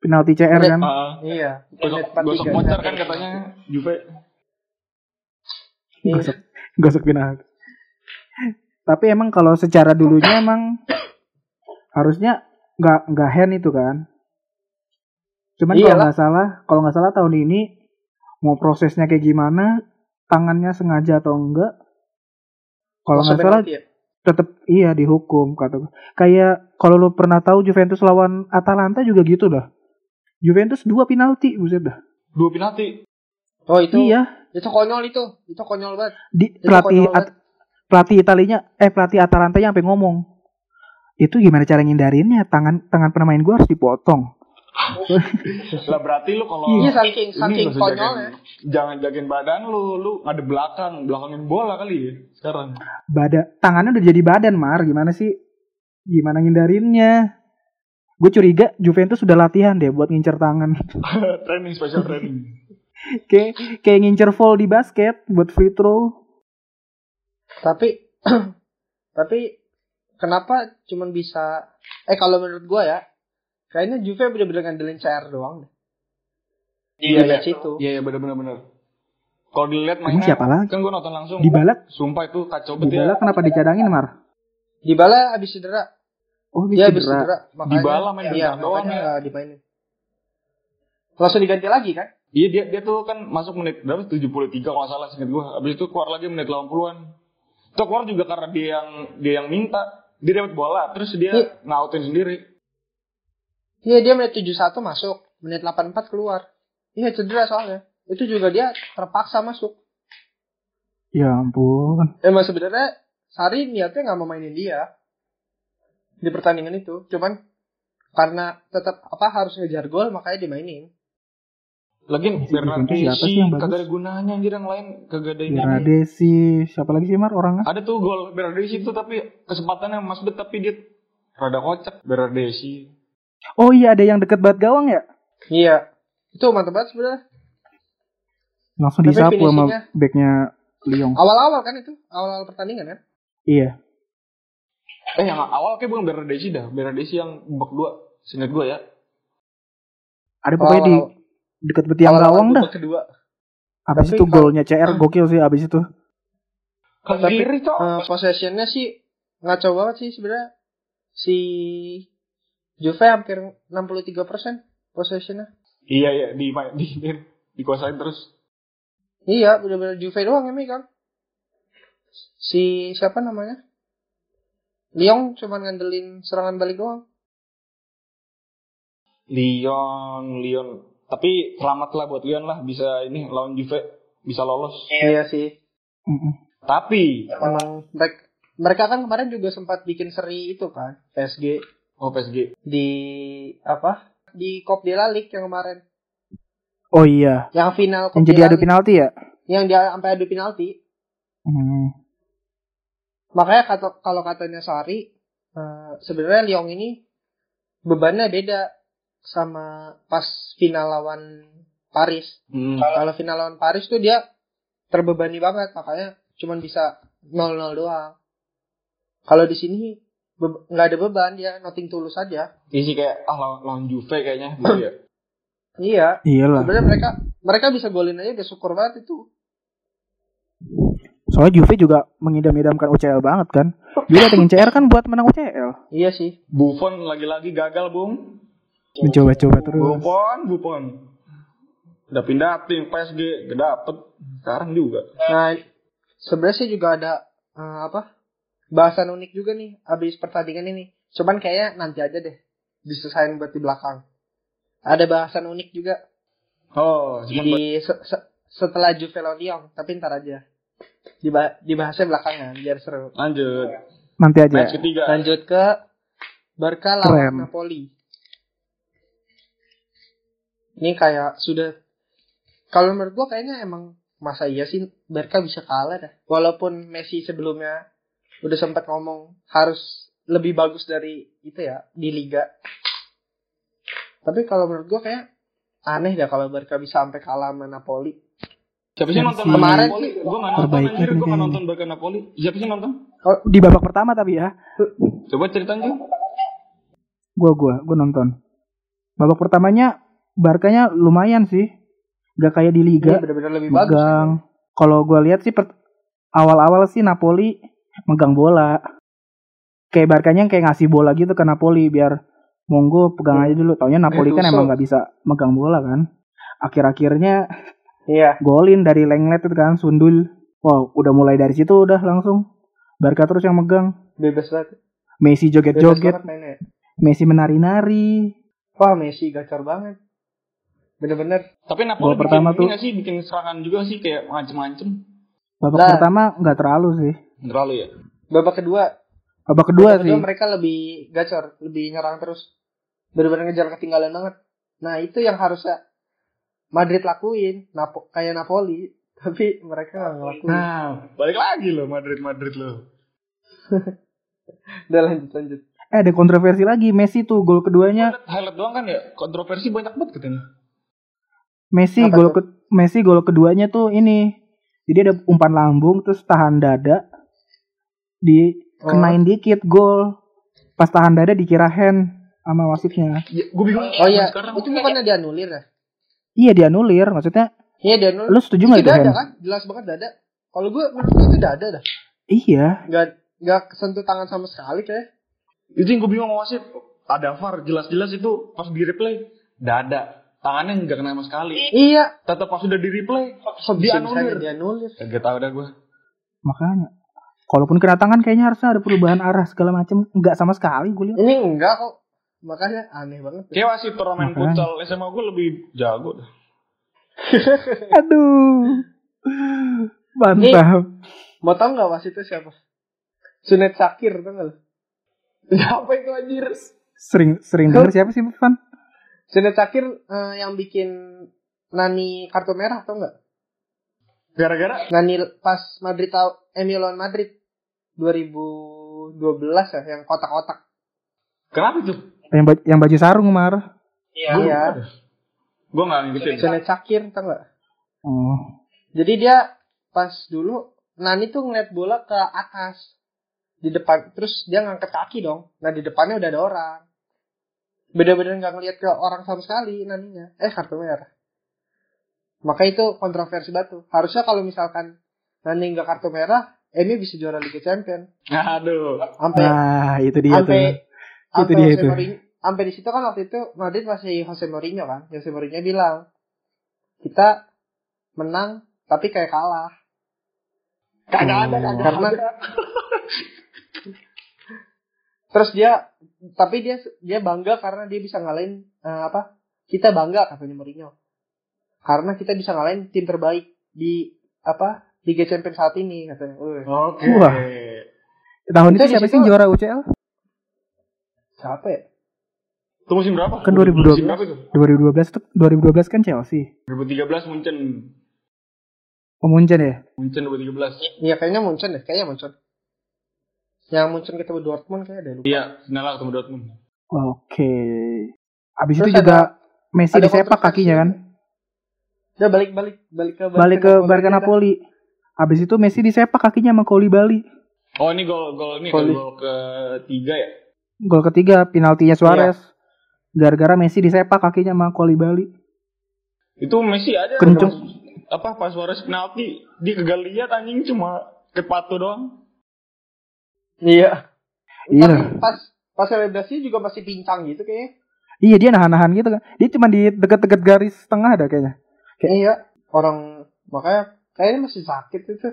Speaker 3: penalti CR kan.
Speaker 1: Ah,
Speaker 4: Iya.
Speaker 1: gosok,
Speaker 4: menit
Speaker 1: gosok
Speaker 4: 43.
Speaker 1: voucher kan katanya Juve.
Speaker 4: Iya.
Speaker 3: Gosok gosok penalti. nah. tapi emang kalau secara dulunya emang harusnya nggak nggak hand itu kan. Cuman kalau
Speaker 4: Iyalah.
Speaker 3: nggak salah, kalau nggak salah tahun ini mau prosesnya kayak gimana, tangannya sengaja atau enggak? Kalau
Speaker 4: Gosok
Speaker 3: nggak salah
Speaker 4: penalti ya?
Speaker 3: tetap iya dihukum kata gua. kayak kalau lu pernah tahu Juventus lawan Atalanta juga gitu dah Juventus dua penalti buset dah
Speaker 1: Dua penalti.
Speaker 4: Oh itu.
Speaker 3: iya
Speaker 4: Itu konyol itu. Itu konyol banget.
Speaker 3: di
Speaker 4: Itu
Speaker 3: pelatih
Speaker 4: konyol banget.
Speaker 3: At- pelatih Italinya eh pelatih Atalanta yang sampai ngomong itu gimana cara ngindarinnya tangan tangan pemain gua harus dipotong
Speaker 1: Lah berarti lu kalau
Speaker 4: Iya saking saking
Speaker 1: nggak usah
Speaker 4: konyolnya.
Speaker 1: jagain- Jangan jagain badan lu, lu ada belakang, belakangin bola kali ya sekarang.
Speaker 3: badan tangannya udah jadi badan mar gimana sih gimana ngindarinnya gue curiga Juventus sudah latihan deh buat ngincer tangan
Speaker 1: training special training.
Speaker 3: kayak kayak ngincer foul di basket buat free throw
Speaker 4: Tapi tapi kenapa cuman bisa eh kalau menurut gua ya kayaknya Juve bener-bener ngandelin CR doang deh. Iya,
Speaker 1: Iya,
Speaker 4: situ.
Speaker 1: Iya, iya benar benar benar. Kalau dilihat
Speaker 3: Emang
Speaker 1: mainnya
Speaker 3: siapa lagi?
Speaker 1: Kan gua nonton langsung.
Speaker 3: Dybala
Speaker 1: Sumpah itu kacau
Speaker 3: Dybala
Speaker 1: banget ya.
Speaker 3: kenapa dicadangin Mar?
Speaker 4: Dibala habis cedera.
Speaker 3: Oh dia
Speaker 4: Dia habis
Speaker 3: cedera.
Speaker 4: cedera. Makanya,
Speaker 1: Dybala main
Speaker 4: iya,
Speaker 1: bentar doang
Speaker 4: makanya
Speaker 1: ya.
Speaker 4: nggak dimainin. Langsung diganti lagi kan?
Speaker 1: Iya, dia dia tuh kan masuk menit berapa? 73 kalau nggak salah singkat gua. Habis itu keluar lagi menit 80-an. Itu keluar juga karena dia yang dia yang minta. Dia dapat bola, terus
Speaker 4: Iya.
Speaker 1: dia ngautin sendiri.
Speaker 4: Iya dia menit 71 masuk, menit 84 keluar. Iya cedera soalnya. Itu juga dia terpaksa masuk.
Speaker 3: Ya ampun.
Speaker 4: Emang Eh, sebenarnya Sari niatnya nggak mau mainin dia di pertandingan itu, cuman karena tetap apa harus ngejar gol makanya dimainin.
Speaker 1: Lagian
Speaker 3: Juventus
Speaker 1: Bernardi
Speaker 3: siapa sih
Speaker 1: sih
Speaker 3: yang bagus?
Speaker 1: kagak ada gunanya anjir yang lain kagak ada
Speaker 4: Iya,
Speaker 1: ini.
Speaker 3: Berade si siapa lagi sih Mar orangnya?
Speaker 1: Ada tuh gol Bernardi tuh tapi kesempatannya Mas Bet tapi dia rada kocak Bernardi.
Speaker 3: Oh iya ada yang deket banget gawang ya.
Speaker 4: Iya, itu mantap banget sebenarnya.
Speaker 3: Langsung
Speaker 4: Tapi
Speaker 3: disapu sama
Speaker 4: finishingnya-
Speaker 3: backnya Lyon.
Speaker 4: Awal-awal kan itu, awal-awal pertandingan kan.
Speaker 3: Iya.
Speaker 1: Eh yang awal kayak bukan Bernardi dah, Bernardi yang babak dua. Singkat gua ya.
Speaker 3: Ada pokoknya di
Speaker 4: Awal-awal.
Speaker 3: deket tiang
Speaker 4: Awal-awal
Speaker 3: gawang dah.
Speaker 4: babak Kedua.
Speaker 3: Abis
Speaker 4: Tapi
Speaker 3: itu
Speaker 4: kalau-
Speaker 3: golnya CR gokil sih abis itu.
Speaker 1: Kaki
Speaker 4: Tapi-
Speaker 1: kiri cok.
Speaker 4: Eh, possessionnya sih ngaco banget sih sebenarnya. Si Juve hampir 63 persen possessionnya.
Speaker 1: Iya iya di di, di dikuasain terus.
Speaker 4: Iya, benar-benar Juve doang yang megang. Si siapa namanya? Lyon cuman ngandelin serangan balik doang.
Speaker 1: Lyon Lyon. Tapi selamatlah buat Lyon lah bisa ini lawan Juve bisa lolos.
Speaker 4: Iya sih.
Speaker 3: Mm-mm.
Speaker 1: Tapi
Speaker 4: Emang mereka, mereka kan kemarin juga sempat bikin seri itu kan PSG
Speaker 1: oh PSG
Speaker 4: di apa di Cop de la Ligue yang kemarin
Speaker 3: Oh iya.
Speaker 4: yang final
Speaker 3: Yang
Speaker 4: Coupe
Speaker 3: jadi
Speaker 4: de la
Speaker 3: adu
Speaker 4: Ligue.
Speaker 3: penalti ya.
Speaker 4: yang dia sampai adu penalti
Speaker 3: Hmm.
Speaker 4: makanya kata, kalau katanya Sari eh, sebenarnya Lyon ini bebannya beda sama pas final lawan Paris
Speaker 1: Hmm.
Speaker 4: kalau final lawan Paris tuh dia terbebani banget makanya cuman bisa 0-0 doang kalau di sini be- nggak ada beban ya nothing tulus aja
Speaker 1: Iya sih kayak ah lawan, lawan Juve kayaknya gitu ya.
Speaker 4: Iya,
Speaker 3: Iyalah.
Speaker 4: sebenarnya mereka mereka bisa golin aja udah syukur banget itu.
Speaker 3: Soalnya Juve juga mengidam-idamkan UCL banget kan. Dia datengin CR kan buat menang UCL.
Speaker 4: Iya sih.
Speaker 1: Buffon lagi-lagi gagal, Bung.
Speaker 3: Dicoba-coba terus.
Speaker 1: Buffon, Buffon. Udah pindah tim PSG, gak dapet. Sekarang juga.
Speaker 4: Nah, sebenarnya sih juga ada eh, apa? Bahasan unik juga nih abis pertandingan ini. Cuman kayaknya nanti aja deh diselesain buat di belakang. Ada bahasan unik juga
Speaker 1: Oh, cuma
Speaker 4: di se- se- setelah Juve lawan Lyon, tapi ntar aja. Diba- dibahasnya belakangan biar seru.
Speaker 1: lanjut.
Speaker 3: Nanti
Speaker 1: Match
Speaker 3: aja.
Speaker 1: ketiga.
Speaker 4: Lanjut ke Barca
Speaker 3: Keren.
Speaker 4: lawan Napoli. Ini kayak sudah kalau menurut gua kayaknya emang masa iya sih Barca bisa kalah dah. Walaupun Messi sebelumnya udah sempat ngomong harus lebih bagus dari itu ya di liga. Tapi kalau menurut gua kayak aneh dah kalau Barca bisa sampai kalah sama Napoli.
Speaker 1: Siapa sih
Speaker 3: Yang
Speaker 1: nonton
Speaker 3: si
Speaker 1: kemarin? Gue gak nonton,
Speaker 3: terbaiknya
Speaker 1: anjir. Gue
Speaker 3: kayaknya.
Speaker 1: gak nonton Barca Napoli. Siapa sih nonton?
Speaker 3: Di babak pertama tapi ya.
Speaker 1: Coba ceritain tuh.
Speaker 3: Gua gua gua nonton. Babak pertamanya Barkanya lumayan sih. Gak kayak di liga.
Speaker 4: Dia benar-benar Iya, lebih bagus.
Speaker 3: Iya, megang. Kalau gue lihat sih per- awal-awal sih Napoli megang bola. Kayak Barkanya yang kayak ngasih bola gitu ke Napoli biar monggo pegang aja dulu. Taunya Napoli kan
Speaker 4: Gattuso.
Speaker 3: emang nggak bisa megang bola kan. Akhir-akhirnya
Speaker 4: Iya.
Speaker 3: golin dari Lenglet itu kan Sundul. Wow, udah mulai dari situ udah langsung Barca terus yang megang.
Speaker 4: Bebas banget.
Speaker 3: Messi
Speaker 4: Bebas
Speaker 3: joget-joget,
Speaker 4: banget mainnya.
Speaker 3: Messi menari-nari.
Speaker 4: Wah Messi gacor banget. Bener-bener.
Speaker 1: Tapi Napoli
Speaker 3: Gol pertama
Speaker 1: bikin,
Speaker 3: tuh.
Speaker 1: ini gak sih bikin serangan juga sih kayak macem-macem.
Speaker 3: Babak
Speaker 4: Lah.
Speaker 3: pertama nggak terlalu sih.
Speaker 1: Terlalu ya.
Speaker 4: Babak kedua
Speaker 3: Babak kedua
Speaker 4: Babak
Speaker 3: Iya sih.
Speaker 4: mereka lebih gacor, lebih nyerang terus. Bener-bener ngejar ketinggalan banget. Nah, itu yang harusnya Madrid lakuin, Napo- kayak Napoli, tapi mereka nggak ngelakuin.
Speaker 1: Nah, balik lagi loh Madrid-Madrid loh.
Speaker 4: Udah lanjut lanjut.
Speaker 3: Eh ada kontroversi lagi Messi tuh gol keduanya
Speaker 1: Highlight doang kan ya, kontroversi banyak banget katanya.
Speaker 3: Messi
Speaker 4: Apa
Speaker 3: gol
Speaker 4: tuh?
Speaker 3: ke- Messi gol keduanya tuh ini. Jadi ada umpan lambung terus tahan dada
Speaker 4: Oh.
Speaker 3: dikenain dikit gol. Pas tahan dada dikira hand sama wasitnya.
Speaker 1: Ya, gue bingung.
Speaker 4: Oh iya,
Speaker 1: Sekarang
Speaker 4: itu bukannya dianulir ya?
Speaker 3: Iya dianulir maksudnya
Speaker 4: Iya dianulir.
Speaker 3: lu setuju nggak
Speaker 4: itu
Speaker 3: itu hand?
Speaker 4: dada kan? Jelas banget dada. Kalau gue menurut gue itu dada dah.
Speaker 3: Iya.
Speaker 4: Nggak nggak kesentuh tangan sama sekali kayak.
Speaker 1: Itu yang gue bingung sama wasit. Ada VAR, jelas-jelas itu pas di replay dada, tangannya nggak kena sama sekali.
Speaker 4: Iya.
Speaker 1: Tetap pas sudah di replay
Speaker 4: Kok bisa bisanya
Speaker 1: dianulir.
Speaker 4: dianulir?
Speaker 1: Gak tau dah gue.
Speaker 3: Makanya. Kalaupun kena tangan kayaknya harusnya ada perubahan arah segala macem nggak sama sekali gue lihat.
Speaker 4: Ini enggak kok. Makanya aneh banget.
Speaker 1: Kayak wasit turnamen
Speaker 3: Makanya.
Speaker 1: futsal SMA gue lebih jago. dah.
Speaker 4: Iya.
Speaker 3: Aduh. Mantap.
Speaker 4: Mau tau nggak wasitnya siapa? Sunet Sakir tau nggak lo?
Speaker 1: Siapa itu anjir?
Speaker 3: Sering sering denger siapa sih Fan?
Speaker 4: Sunet Sakir eh, yang bikin Nani kartu merah tau nggak?
Speaker 1: Gara-gara
Speaker 4: Nani pas Madrid tau MU lawan Madrid 2012 ya yang kotak-kotak.
Speaker 1: kenapa itu?
Speaker 3: Yang baju, yang baju sarung marah.
Speaker 4: Iya.
Speaker 1: Gue nggak ngikutin.
Speaker 4: Sunet Sakir tau nggak?
Speaker 3: Oh.
Speaker 4: Jadi dia pas dulu Nani tuh ngeliat bola ke atas di depan terus dia ngangkat kaki dong. Nah di depannya udah ada orang. Bener-bener nggak ngeliat ke orang sama sekali Naninya. Eh kartu merah. Maka itu kontroversi batu. Harusnya kalau misalkan Nani nggak kartu merah, Emi bisa juara Liga Champion.
Speaker 1: Aduh.
Speaker 4: Sampai
Speaker 3: Nah, itu dia
Speaker 4: sampai
Speaker 3: tuh.
Speaker 4: sampai
Speaker 3: dia
Speaker 4: Jose
Speaker 3: tuh.
Speaker 4: Mourinho. Sampai di situ kan waktu itu Madrid masih Jose Mourinho kan. Jose Mourinho bilang kita menang tapi kayak kalah.
Speaker 1: Kagak ada,
Speaker 3: Oh.
Speaker 1: kagak
Speaker 4: Karena-
Speaker 1: ada.
Speaker 4: Terus dia tapi dia dia bangga karena dia bisa ngalahin eh, apa? Kita bangga katanya Mourinho. Karena kita bisa ngalahin tim terbaik di apa? Liga Champions saat ini katanya. Wih,
Speaker 3: Oh.
Speaker 1: Oke.
Speaker 3: Wah. Tahun itu
Speaker 4: Itu di
Speaker 3: siapa
Speaker 4: situ-
Speaker 3: sih yang juara UCL?
Speaker 4: siapa ya?
Speaker 1: Itu musim berapa?
Speaker 3: Kan
Speaker 1: Musim berapa itu?
Speaker 3: 2012 tuh 2012 kan Chelsea.
Speaker 1: 2013 Munchen.
Speaker 3: Oh, Munchen ya?
Speaker 1: Munchen 2013.
Speaker 4: Iya kayaknya Munchen deh, kayaknya Munchen. Yang Munchen ketemu Dortmund kayaknya ada lupa.
Speaker 1: Iya, final lah ketemu Dortmund.
Speaker 3: Oke. Abis
Speaker 4: Terus
Speaker 3: itu juga
Speaker 4: ada-
Speaker 3: Messi
Speaker 4: ada
Speaker 3: disepak
Speaker 4: kontroversi
Speaker 3: kakinya kan?
Speaker 4: Udah balik-balik balik ke
Speaker 3: Balik ke Barca
Speaker 4: aja dah.
Speaker 3: Napoli. Abis itu Messi disepak kakinya sama Bali.
Speaker 1: Oh, ini gol gol ini
Speaker 4: Gol.
Speaker 1: gol gol ketiga ya.
Speaker 3: Gol ketiga, penaltinya Suarez.
Speaker 4: Iya.
Speaker 3: Gara-gara Messi disepak kakinya sama Bali.
Speaker 1: Itu Messi aja
Speaker 3: Kenceng.
Speaker 1: pas- apa pas Suarez penalti dia kagak lihat anjing cuma kepatu doang.
Speaker 4: Iya.
Speaker 3: Iya.
Speaker 4: Tapi pas pas selebrasi juga masih pincang gitu kayaknya.
Speaker 3: Iya dia nahan-nahan gitu kan. Dia cuma di deket-deket garis tengah ada kayaknya. Kayak-
Speaker 4: Iya, orang makanya kayaknya masih sakit itu.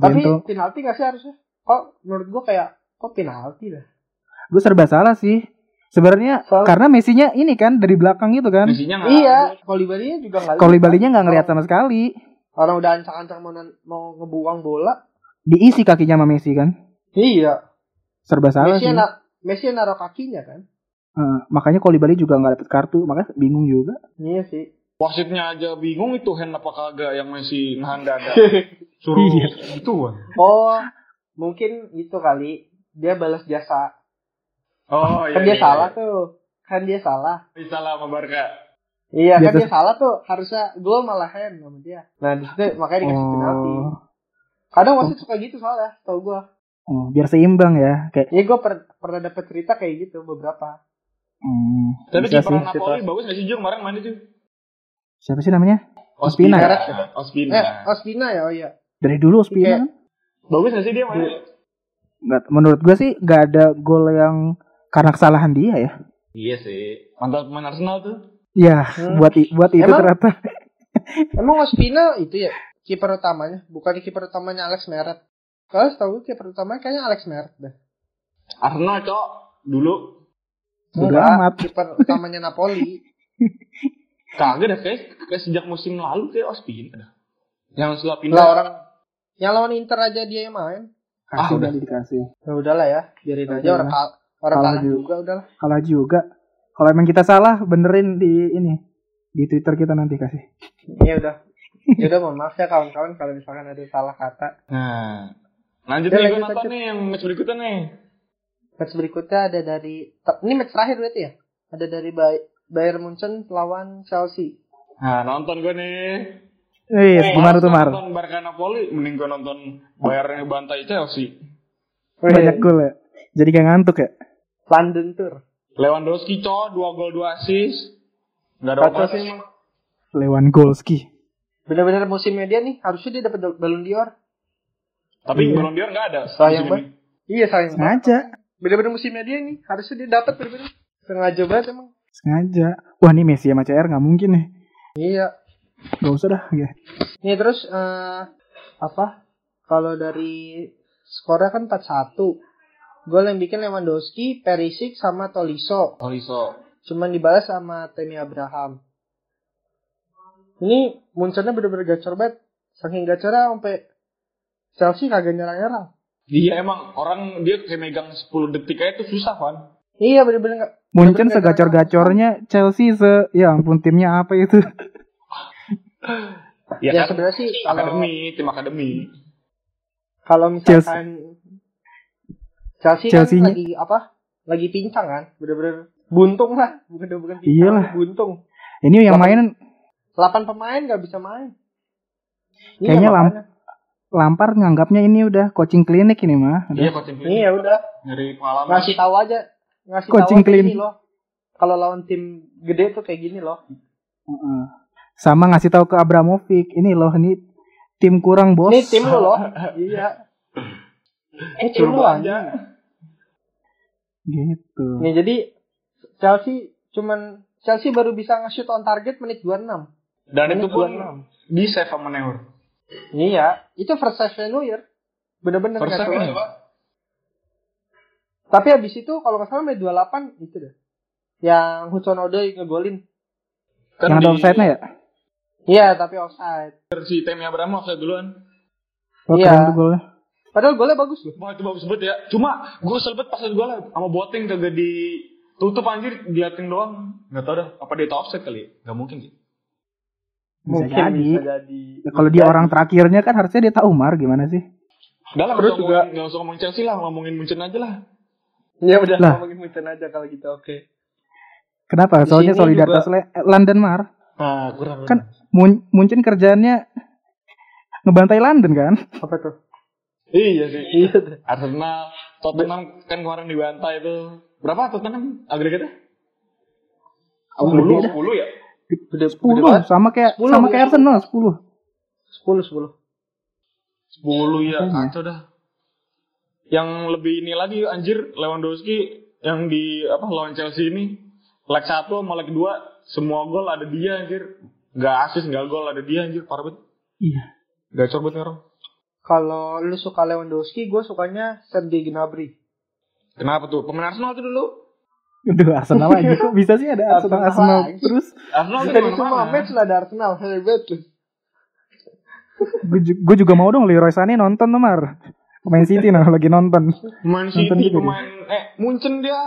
Speaker 4: Tapi
Speaker 3: Bento.
Speaker 4: penalti gak sih harusnya? Kok menurut gua kayak kok penalti dah.
Speaker 3: gue serba salah sih. Sebenarnya
Speaker 4: Soal-
Speaker 3: karena Messinya ini kan dari belakang gitu kan.
Speaker 1: Misinya nggak
Speaker 4: Iya, Kolibalinya juga nggak.
Speaker 3: Kalau balinya nggak ngeliat sama sekali.
Speaker 4: Orang udah ancang-ancang mau, nan- mau ngebuang bola.
Speaker 3: Diisi kakinya sama Messi kan.
Speaker 4: Iya.
Speaker 3: Serba salah sih.
Speaker 4: Messi na Messi naruh kakinya kan.
Speaker 3: Eh, makanya kalau Bali juga nggak dapet kartu, makanya bingung juga.
Speaker 4: Iya sih.
Speaker 1: Wasitnya aja bingung itu hand apa kagak yang masih nahan dada. Suruh
Speaker 3: Iya.
Speaker 1: itu. Wan.
Speaker 4: oh, mungkin itu kali dia balas jasa.
Speaker 1: Oh
Speaker 4: Kan dia salah tuh. Kan dia salah.
Speaker 1: Dia salah sama Barca.
Speaker 4: Iya
Speaker 3: Dia
Speaker 4: kan dia
Speaker 3: tuh-
Speaker 4: salah tuh harusnya gue malahan sama dia. Nah di situ makanya dikasih penalti.
Speaker 3: Oh.
Speaker 4: Kadang wasit suka gitu soalnya, tau gue.
Speaker 3: Oh, biar seimbang ya, kayak.
Speaker 4: Iya gue pernah dapet cerita kayak gitu beberapa.
Speaker 3: Hmm,
Speaker 1: Tapi
Speaker 3: bisa sih.
Speaker 1: kiper Napoli bagus nggak sih Jung kemarin mana Jung?
Speaker 3: Siapa sih namanya?
Speaker 1: Ospina.
Speaker 3: Ospina.
Speaker 1: Ospina.
Speaker 4: Eh Ospina ya, oh iya.
Speaker 3: Dari dulu Ospina
Speaker 4: Iya.
Speaker 3: kan?
Speaker 1: Bagus nggak sih dia main?
Speaker 3: Nggak- menurut gue sih gak ada gol yang karena kesalahan dia ya.
Speaker 1: Iya sih. Mantap pemain Arsenal tuh.
Speaker 3: Ya,
Speaker 4: Hmm.
Speaker 3: buat i- buat itu
Speaker 4: Emang?
Speaker 3: ternyata.
Speaker 4: Emang Ospina itu ya kiper utamanya, bukan kiper utamanya Alex Meret. Kalau setahu gue kiper utamanya kayaknya Alex Meret deh.
Speaker 1: Arsenal cok dulu
Speaker 3: Bodo
Speaker 4: Enggak,
Speaker 3: amat.
Speaker 4: Kiper utamanya Napoli.
Speaker 1: kagak dah kayak, kayak sejak musim lalu kayak Ospina. dah. Yang setelah pindah
Speaker 4: Lah orang yang lawan Inter aja dia yang main.
Speaker 1: Ah,
Speaker 3: Kasih
Speaker 1: udah.
Speaker 3: kali dikasih.
Speaker 4: Ya udahlah ya, biarin
Speaker 3: Oke,
Speaker 4: aja orang
Speaker 3: lah.
Speaker 4: kal- orang
Speaker 3: Kalah
Speaker 4: kalah
Speaker 3: juga.
Speaker 4: juga udahlah.
Speaker 3: Kalah juga. Kalau emang kita salah, benerin di ini di Twitter kita nanti kasih.
Speaker 4: Iya udah. Ya udah mohon maaf ya kawan-kawan kalau misalkan ada salah kata.
Speaker 1: Nah, lanjut nih
Speaker 4: Ya,
Speaker 1: gue
Speaker 4: lanjut,
Speaker 1: nonton
Speaker 4: lanjut.
Speaker 1: nih yang match berikutnya nih.
Speaker 4: Match berikutnya ada dari ter- ini match terakhir berarti ya? Ada dari Bay- Bayern Munchen lawan Chelsea.
Speaker 1: Nah, nonton gue nih.
Speaker 3: Eh, gimana
Speaker 1: Males
Speaker 3: tuh Mar?
Speaker 1: Nonton Barca Napoli, mending gue nonton Bayern bantai Chelsea.
Speaker 3: Banyak gol ya. Jadi gak ngantuk ya.
Speaker 4: London Tour.
Speaker 1: Lewandowski co, 2 gol 2 assist. Gak ada
Speaker 4: Kacau
Speaker 1: apa-apa
Speaker 4: sih
Speaker 1: sih.
Speaker 4: emang.
Speaker 3: Lewandowski.
Speaker 4: Bener-bener musimnya dia nih, harusnya dia dapat bal- Ballon d'Or.
Speaker 1: Tapi Ballon d'Or gak ada.
Speaker 4: Sayang
Speaker 1: musim ini.
Speaker 4: Iya sayang banget.
Speaker 3: Sengaja.
Speaker 4: Bener-bener musimnya dia nih, harusnya dia dapat bener-bener. Sengaja banget emang.
Speaker 3: Sengaja. Wah, ini Messi sama CR gak mungkin nih.
Speaker 4: Iya.
Speaker 3: Gak usah dah. Ya.
Speaker 4: Nih terus eh, apa? Kalau dari skornya kan 4-1. Gol yang bikin Lewandowski, Perisic sama Tolisso.
Speaker 1: Tolisso.
Speaker 4: Cuman dibalas sama Temi Abraham. Ini munculnya bener-bener gacor banget. Saking gacornya sampai Chelsea kagak nyerang-nyerang.
Speaker 1: Dia Iya, emang orang dia kayak megang 10 detik aja tuh susah kan.
Speaker 4: Iya bener-bener nggak-
Speaker 3: Munchen segacor-gacornya Chelsea se ya ampun timnya apa itu?
Speaker 1: Ya,
Speaker 4: Ya,
Speaker 1: kan?
Speaker 4: sebenarnya sih kalau
Speaker 1: Akademi, tim akademi.
Speaker 4: kalau misalkan Chelsea,
Speaker 3: Chelsea-nya.
Speaker 4: kan lagi apa? Lagi pincang kan, bener-bener buntung lah, bukan bukan pincang,
Speaker 3: Iyalah.
Speaker 4: buntung.
Speaker 3: Ini yang main
Speaker 4: Lapan- 8 pemain nggak bisa main. Iya,
Speaker 3: Kayaknya
Speaker 4: makanya.
Speaker 3: Lampard nganggapnya ini udah coaching klinik ini mah. Udah.
Speaker 1: Iya, coaching klinik.
Speaker 4: Iya udah,
Speaker 1: Nyari pengalaman.
Speaker 4: ngasih tahu aja, ngasih
Speaker 3: Coaching
Speaker 4: tahu aja
Speaker 3: clean.
Speaker 4: gini loh. Kalau lawan tim gede tuh kayak gini loh.
Speaker 3: Heeh. Sama ngasih tahu ke Abramovich, ini loh ini tim kurang bos.
Speaker 4: Ini tim lu loh. iya. Ini tim
Speaker 1: Suruh
Speaker 4: lu
Speaker 1: belanja.
Speaker 4: aja.
Speaker 3: Gitu.
Speaker 4: Nih jadi Chelsea cuman Chelsea baru bisa nge-shoot on target menit 26.
Speaker 1: Dan
Speaker 4: Menit
Speaker 1: itu pun
Speaker 4: 26.
Speaker 1: di save sama Neuer.
Speaker 4: Iya, itu first save failure. Bener-bener
Speaker 1: First
Speaker 4: nggak
Speaker 1: save
Speaker 4: tahu.
Speaker 1: kan, Pak?
Speaker 4: Tapi habis itu kalau nggak salah menit 28 itu deh. Yang Hudson Odoi ngegolin.
Speaker 1: Kan
Speaker 3: yang ada
Speaker 1: di-
Speaker 3: offside-nya ya?
Speaker 4: Iya, tapi offside.
Speaker 1: si Temi Abraham offside duluan.
Speaker 3: Oh,
Speaker 4: Iya.
Speaker 3: keren tuh golnya.
Speaker 4: Padahal golnya bagus loh.
Speaker 1: Wah itu bagus banget ya. Cuma gue selbet pas gue lah sama Boateng kagak ditutup anjir diliatin doang. Gak tau dah apa dia tau offside kali. ya? Gak mungkin sih.
Speaker 3: Bisa
Speaker 4: Mungkin
Speaker 3: jadi.
Speaker 4: bisa jadi.
Speaker 3: Ya, kalau
Speaker 4: Iya.
Speaker 3: dia orang terakhirnya kan harusnya dia tahu Mar gimana sih?
Speaker 1: Udah lah, nggak
Speaker 4: Terus
Speaker 1: usah
Speaker 4: juga-
Speaker 1: ngomongin- nggak usah ngomongin Chelsea lah, ngomongin Munchen aja lah.
Speaker 4: Ya udah
Speaker 3: Lah.
Speaker 4: ngomongin Munchen aja kalau gitu. Oke.
Speaker 3: Kenapa?
Speaker 4: Di
Speaker 3: Soalnya
Speaker 4: sini
Speaker 3: solidaritas Le- eh, London Mar.
Speaker 1: Nah,
Speaker 4: Ah,
Speaker 1: kurang.
Speaker 3: Kan Mun Munchen kerjaannya ngebantai London kan?
Speaker 4: Apa tuh?
Speaker 1: Iya sih.
Speaker 4: Iya. tuh.
Speaker 1: Arsenal, Tottenham kan kemarin dibantai itu. Berapa Tottenham agregatnya? Apa
Speaker 3: Gede
Speaker 1: Sepuluh,
Speaker 3: dah.
Speaker 1: sepuluh ya?
Speaker 4: Gede, gede
Speaker 3: 10
Speaker 4: banget.
Speaker 3: sama kayak
Speaker 4: 10,
Speaker 3: sama kayak
Speaker 4: iya.
Speaker 3: Arsenal 10.
Speaker 4: 10 10.
Speaker 1: Sepuluh ya,
Speaker 3: Makanya.
Speaker 1: kacau dah. Yang lebih ini lagi anjir Lewandowski yang di apa lawan Chelsea ini leg satu sama leg dua semua gol ada dia anjir. Nggak asis, nggak gol ada dia anjir, parah banget.
Speaker 3: Iya.
Speaker 1: Gacor banget nih orang.
Speaker 4: Kalau lu suka Lewandowski, gue sukanya Sergei Gnabry.
Speaker 1: Kenapa tuh? Pemain Arsenal tuh dulu.
Speaker 3: Aduh, Arsenal aja kok bisa sih ada Arsenal
Speaker 4: Arsenal
Speaker 3: Arsenal
Speaker 4: lagi.
Speaker 3: terus
Speaker 1: Arsenal tuh
Speaker 4: Dari
Speaker 1: di
Speaker 4: semua
Speaker 1: mana-mana.
Speaker 4: match lah ada Arsenal, hebat lu.
Speaker 3: gue juga mau dong Leroy Sané nonton tuh Mar main City nah lagi nonton
Speaker 1: Pemain
Speaker 3: Nonton
Speaker 4: gitu
Speaker 1: City,
Speaker 3: juga
Speaker 1: pemain eh Munchen dia.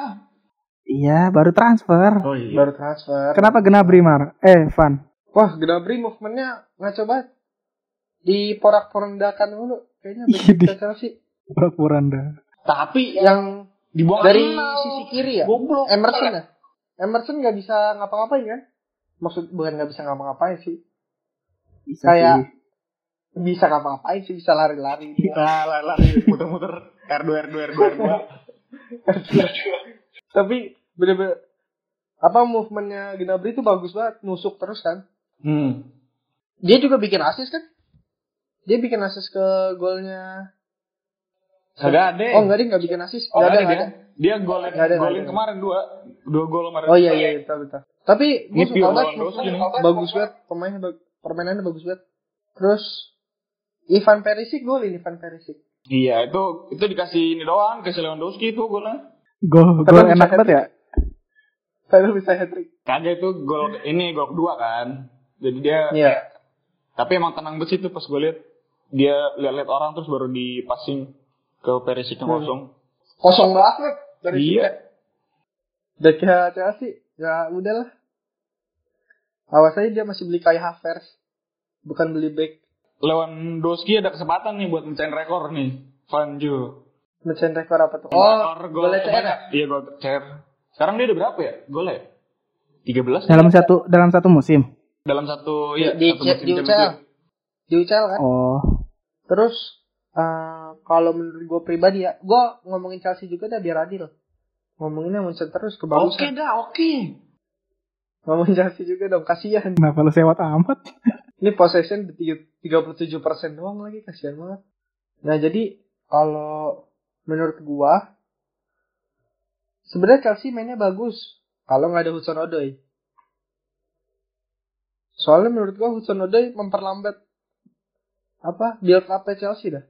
Speaker 3: iya baru transfer
Speaker 1: Oh iya.
Speaker 4: Baru transfer.
Speaker 3: kenapa Gnabry Mar eh Van
Speaker 4: Wah, Gnabry movementnya ngaco banget. Di porak-porandakan dulu. Kayaknya
Speaker 3: Iya, di-
Speaker 4: begitu sih.
Speaker 3: pura-pura anda
Speaker 1: Tapi yang
Speaker 4: Yang
Speaker 1: dibuang
Speaker 4: dari
Speaker 1: Arsenal.
Speaker 4: sisi kiri ya?
Speaker 1: Goblok.
Speaker 4: Emerson ya? Emerson nggak bisa ngapa-ngapain kan? Maksud bukan nggak bisa ngapa-ngapain sih.
Speaker 3: bisa
Speaker 4: Kayak bisa ngapa-ngapain sih, bisa lari-lari. dia.
Speaker 1: Lah, lah, lah, muter-muter R2 R2 R2 R2.
Speaker 4: Tapi bener-bener apa movementnya Gnabry itu bagus banget, nusuk terus kan.
Speaker 1: Hmm.
Speaker 4: Dia juga bikin assist kan? Dia bikin assist ke golnya.
Speaker 1: Kagak ada.
Speaker 4: Oh enggak dia nggak bikin assist.
Speaker 1: Oh, ada,
Speaker 4: Nggak ada, nggak
Speaker 1: dia.
Speaker 4: ada.
Speaker 1: Dia golin,
Speaker 4: Nggak
Speaker 1: golin
Speaker 4: ada, nggak ada.
Speaker 1: kemarin dua. Dua gol kemarin.
Speaker 4: Oh iya iya iya, betul betul. Tapi gue
Speaker 1: Ini
Speaker 4: suka
Speaker 1: pure
Speaker 4: banget
Speaker 1: Lewandowski
Speaker 4: movementnya.
Speaker 1: nih.
Speaker 4: bagus banget pemainnya bag- permainannya bagus banget. Terus Ivan Perisic golin Ivan Perisic.
Speaker 1: Iya, itu itu dikasih ini doang, kasih Lewandowski itu golnya.
Speaker 3: gol
Speaker 4: Tapi
Speaker 3: gol
Speaker 4: bisa
Speaker 3: enak banget ya
Speaker 4: Baru bisa hat trick.
Speaker 1: Kagak itu gol ini gol kedua kan. Jadi dia
Speaker 4: Iya.
Speaker 1: tapi emang tenang banget sih itu pas gue lihat dia lihat-lihat orang terus baru di passing ke Perisic yang
Speaker 4: Hmm.
Speaker 1: kosong.
Speaker 4: Kosong banget dari
Speaker 1: Iya.
Speaker 4: Udah ke Chelsea. Ya udahlah. Awas aja dia masih beli kayak Havertz. Bukan beli back
Speaker 1: Lewandowski ada kesempatan nih buat mencain rekor nih. Vanjo.
Speaker 4: Mecahin rekor apa tuh?
Speaker 1: Rekor gol
Speaker 4: boleh CR ya?
Speaker 1: terbanyak. Iya, gol CR. Sekarang dia udah berapa ya? Golnya? 13
Speaker 3: dalam satu dalam satu musim
Speaker 1: dalam satu
Speaker 4: Di,
Speaker 1: ya
Speaker 4: di,
Speaker 1: satu
Speaker 4: C-
Speaker 1: musim
Speaker 4: di
Speaker 1: Champions
Speaker 4: UCL.
Speaker 1: League.
Speaker 4: Di UCL kan?
Speaker 3: oh
Speaker 4: Terus eh, kalau menurut gue pribadi ya, gue ngomongin Chelsea juga dah biar adil. Ngomongin yang muncul terus kebagusan.
Speaker 1: Oke dah, oke.
Speaker 4: Ngomongin Chelsea juga dong, kasihan.
Speaker 3: kenapa lu sewat amat
Speaker 4: Ini possession di tiga- 37% doang lagi, kasihan banget. Nah, jadi kalau menurut gua sebenarnya Chelsea mainnya bagus kalau nggak ada Hudson Odoi. Soalnya menurut gua Hudson Odoi memperlambat apa build up Chelsea dah.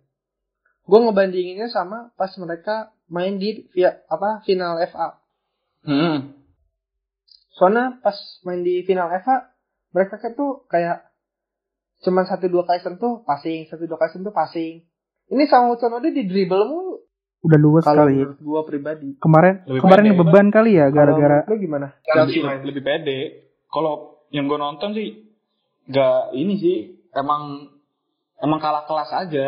Speaker 4: Gua ngebandinginnya sama pas mereka main di via, apa final FA.
Speaker 1: Hmm.
Speaker 4: Soalnya pas main di final FA, mereka kan tuh kayak cuman satu dua kali sentuh passing, satu dua kali sentuh passing. Ini sama Hudson Odoi di dribble mulu.
Speaker 3: udah luas
Speaker 4: Kalau
Speaker 3: kali ya.
Speaker 4: menurut gua pribadi.
Speaker 3: kemarin
Speaker 1: Lebih
Speaker 3: kemarin
Speaker 1: pendek,
Speaker 3: beban kali ya gara-gara
Speaker 4: Kalau menurut lu gimana? ya.
Speaker 1: Lebih,
Speaker 4: Chelsea main.
Speaker 1: lebih pede. Kalau yang gue nonton sih gak ini sih emang emang kalah kelas aja.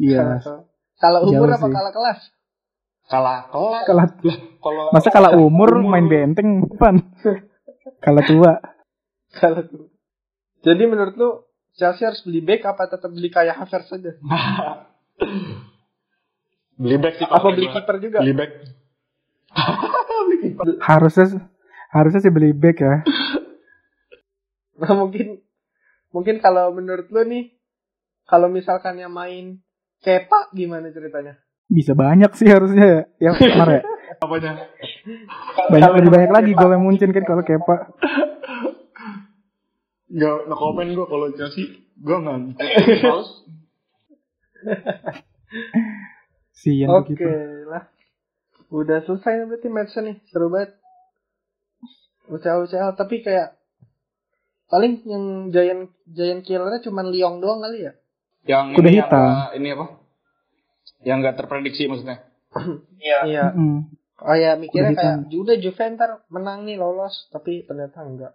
Speaker 3: iya
Speaker 4: Salah
Speaker 3: Jauh
Speaker 4: umur apa
Speaker 3: sih.
Speaker 4: kalah kelas?
Speaker 1: Kalah kelas.
Speaker 3: kalah
Speaker 1: Kalau
Speaker 3: masa kalah
Speaker 4: Iya.
Speaker 3: umur
Speaker 1: Umur.
Speaker 3: main benteng Van kalah tua
Speaker 4: Kalah tuh. Jadi menurut lu Chelsea harus beli back apa tetap beli kayak Havertz saja?
Speaker 1: beli back sih
Speaker 4: Apa
Speaker 1: kalau
Speaker 4: beli
Speaker 1: gua.
Speaker 4: kiper juga?
Speaker 1: Beli back.
Speaker 3: harusnya harusnya sih beli back ya
Speaker 4: Nah, mungkin mungkin kalau menurut lu nih kalau misalkan yang main Kepa gimana ceritanya?
Speaker 3: bisa banyak sih harusnya ya, ya Mar ya
Speaker 1: Apanya?
Speaker 3: banyak lebih banyak lagi gol yang muncul kan kalau kepa
Speaker 1: Gak no comment gue kalau Chelsea gue nggak. ngikutin. Males.
Speaker 3: si yang
Speaker 4: Oke ya.
Speaker 3: begitu
Speaker 4: lah. Udah selesai berarti matchnya nih. Seru banget. UCL-UCL. Tapi kayak... Paling yang Giant, Giant Killer-nya cuma Lyon doang kali ya?
Speaker 1: Yang
Speaker 3: Kuda
Speaker 1: ini
Speaker 3: hitam.
Speaker 1: apa? Ini apa? Yang gak terprediksi maksudnya.
Speaker 4: Iya.
Speaker 3: Mm.
Speaker 4: Kayak iya, mikirnya
Speaker 3: Kuda
Speaker 4: kayak...
Speaker 3: hitam.
Speaker 4: Udah Juve ntar menang nih lolos. Tapi ternyata enggak.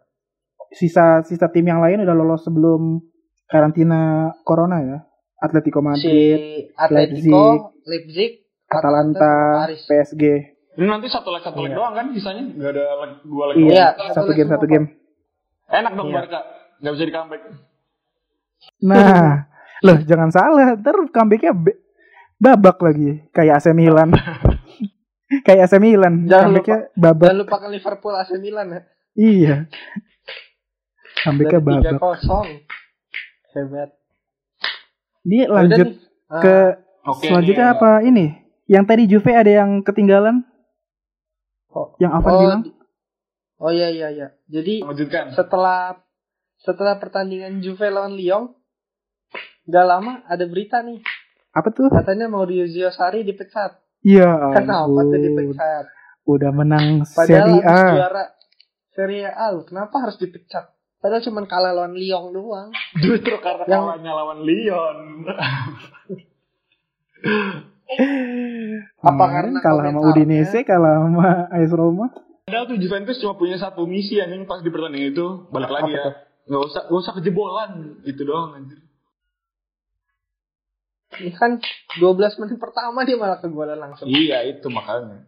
Speaker 3: sisa sisa tim yang lain udah lolos sebelum karantina corona ya Atletico Madrid
Speaker 4: si Atletico, Leipzig,
Speaker 3: Atalanta
Speaker 4: Paris.
Speaker 3: PSG
Speaker 1: Ini nanti satu leg satu leg
Speaker 4: Iya.
Speaker 1: doang kan sisanya? Gak ada leg dua leg.
Speaker 4: Iya,
Speaker 3: iya satu
Speaker 4: satu lagi
Speaker 3: game
Speaker 4: semua,
Speaker 3: satu
Speaker 4: Pak.
Speaker 3: game
Speaker 1: Enak dong
Speaker 4: Iya.
Speaker 1: Barca. Gak bisa di comeback.
Speaker 3: nah loh jangan salah ntar comebacknya be- babak lagi kayak AC Milan kayak AC Milan
Speaker 4: Jangan
Speaker 3: comebacknya babak
Speaker 4: Jangan lupakan Liverpool AC Milan ya.
Speaker 3: iya comebacknya
Speaker 4: Dari
Speaker 3: babak
Speaker 4: 3-0. Hebat.
Speaker 3: ini
Speaker 4: Udah
Speaker 3: lanjut
Speaker 4: nih. Ah, iya,
Speaker 3: ke
Speaker 1: Oke.
Speaker 3: selanjutnya
Speaker 1: nih.
Speaker 3: apa ini yang tadi Juve ada yang ketinggalan
Speaker 4: Oh.
Speaker 3: yang Avan
Speaker 4: Oh,
Speaker 3: bilang
Speaker 4: di- Oh iya iya iya. Jadi
Speaker 1: Mengejutkan.
Speaker 4: setelah setelah pertandingan Juve lawan Lyon, nggak lama ada berita nih
Speaker 3: Apa tuh?
Speaker 4: katanya Maurizio Sarri dipecat.
Speaker 3: Ya
Speaker 4: Kenapa tuh
Speaker 3: ampun.
Speaker 4: dipecat?
Speaker 3: Udah menang
Speaker 4: Padahal
Speaker 3: Serie
Speaker 4: harus
Speaker 3: A.
Speaker 4: juara Serie A, loh. kenapa harus dipecat? Padahal cuma kalah lawan Lyon doang.
Speaker 1: Justru karena
Speaker 4: Yang-
Speaker 1: kalahnya lawan Lyon.
Speaker 4: Apa
Speaker 3: Hmm,
Speaker 4: karena
Speaker 3: kalah sama
Speaker 4: komentarnya?
Speaker 3: Udinese, kalah sama AS Roma?
Speaker 1: Padahal tuh Juventus cuma punya satu misi anjing pas di pertandingan itu balik lagi
Speaker 4: Apa
Speaker 1: ya. Gak usah gak usah kejebolan itu doang anjir.
Speaker 4: Ini kan 12 menit pertama dia malah kegolan langsung.
Speaker 1: Iya itu makanya.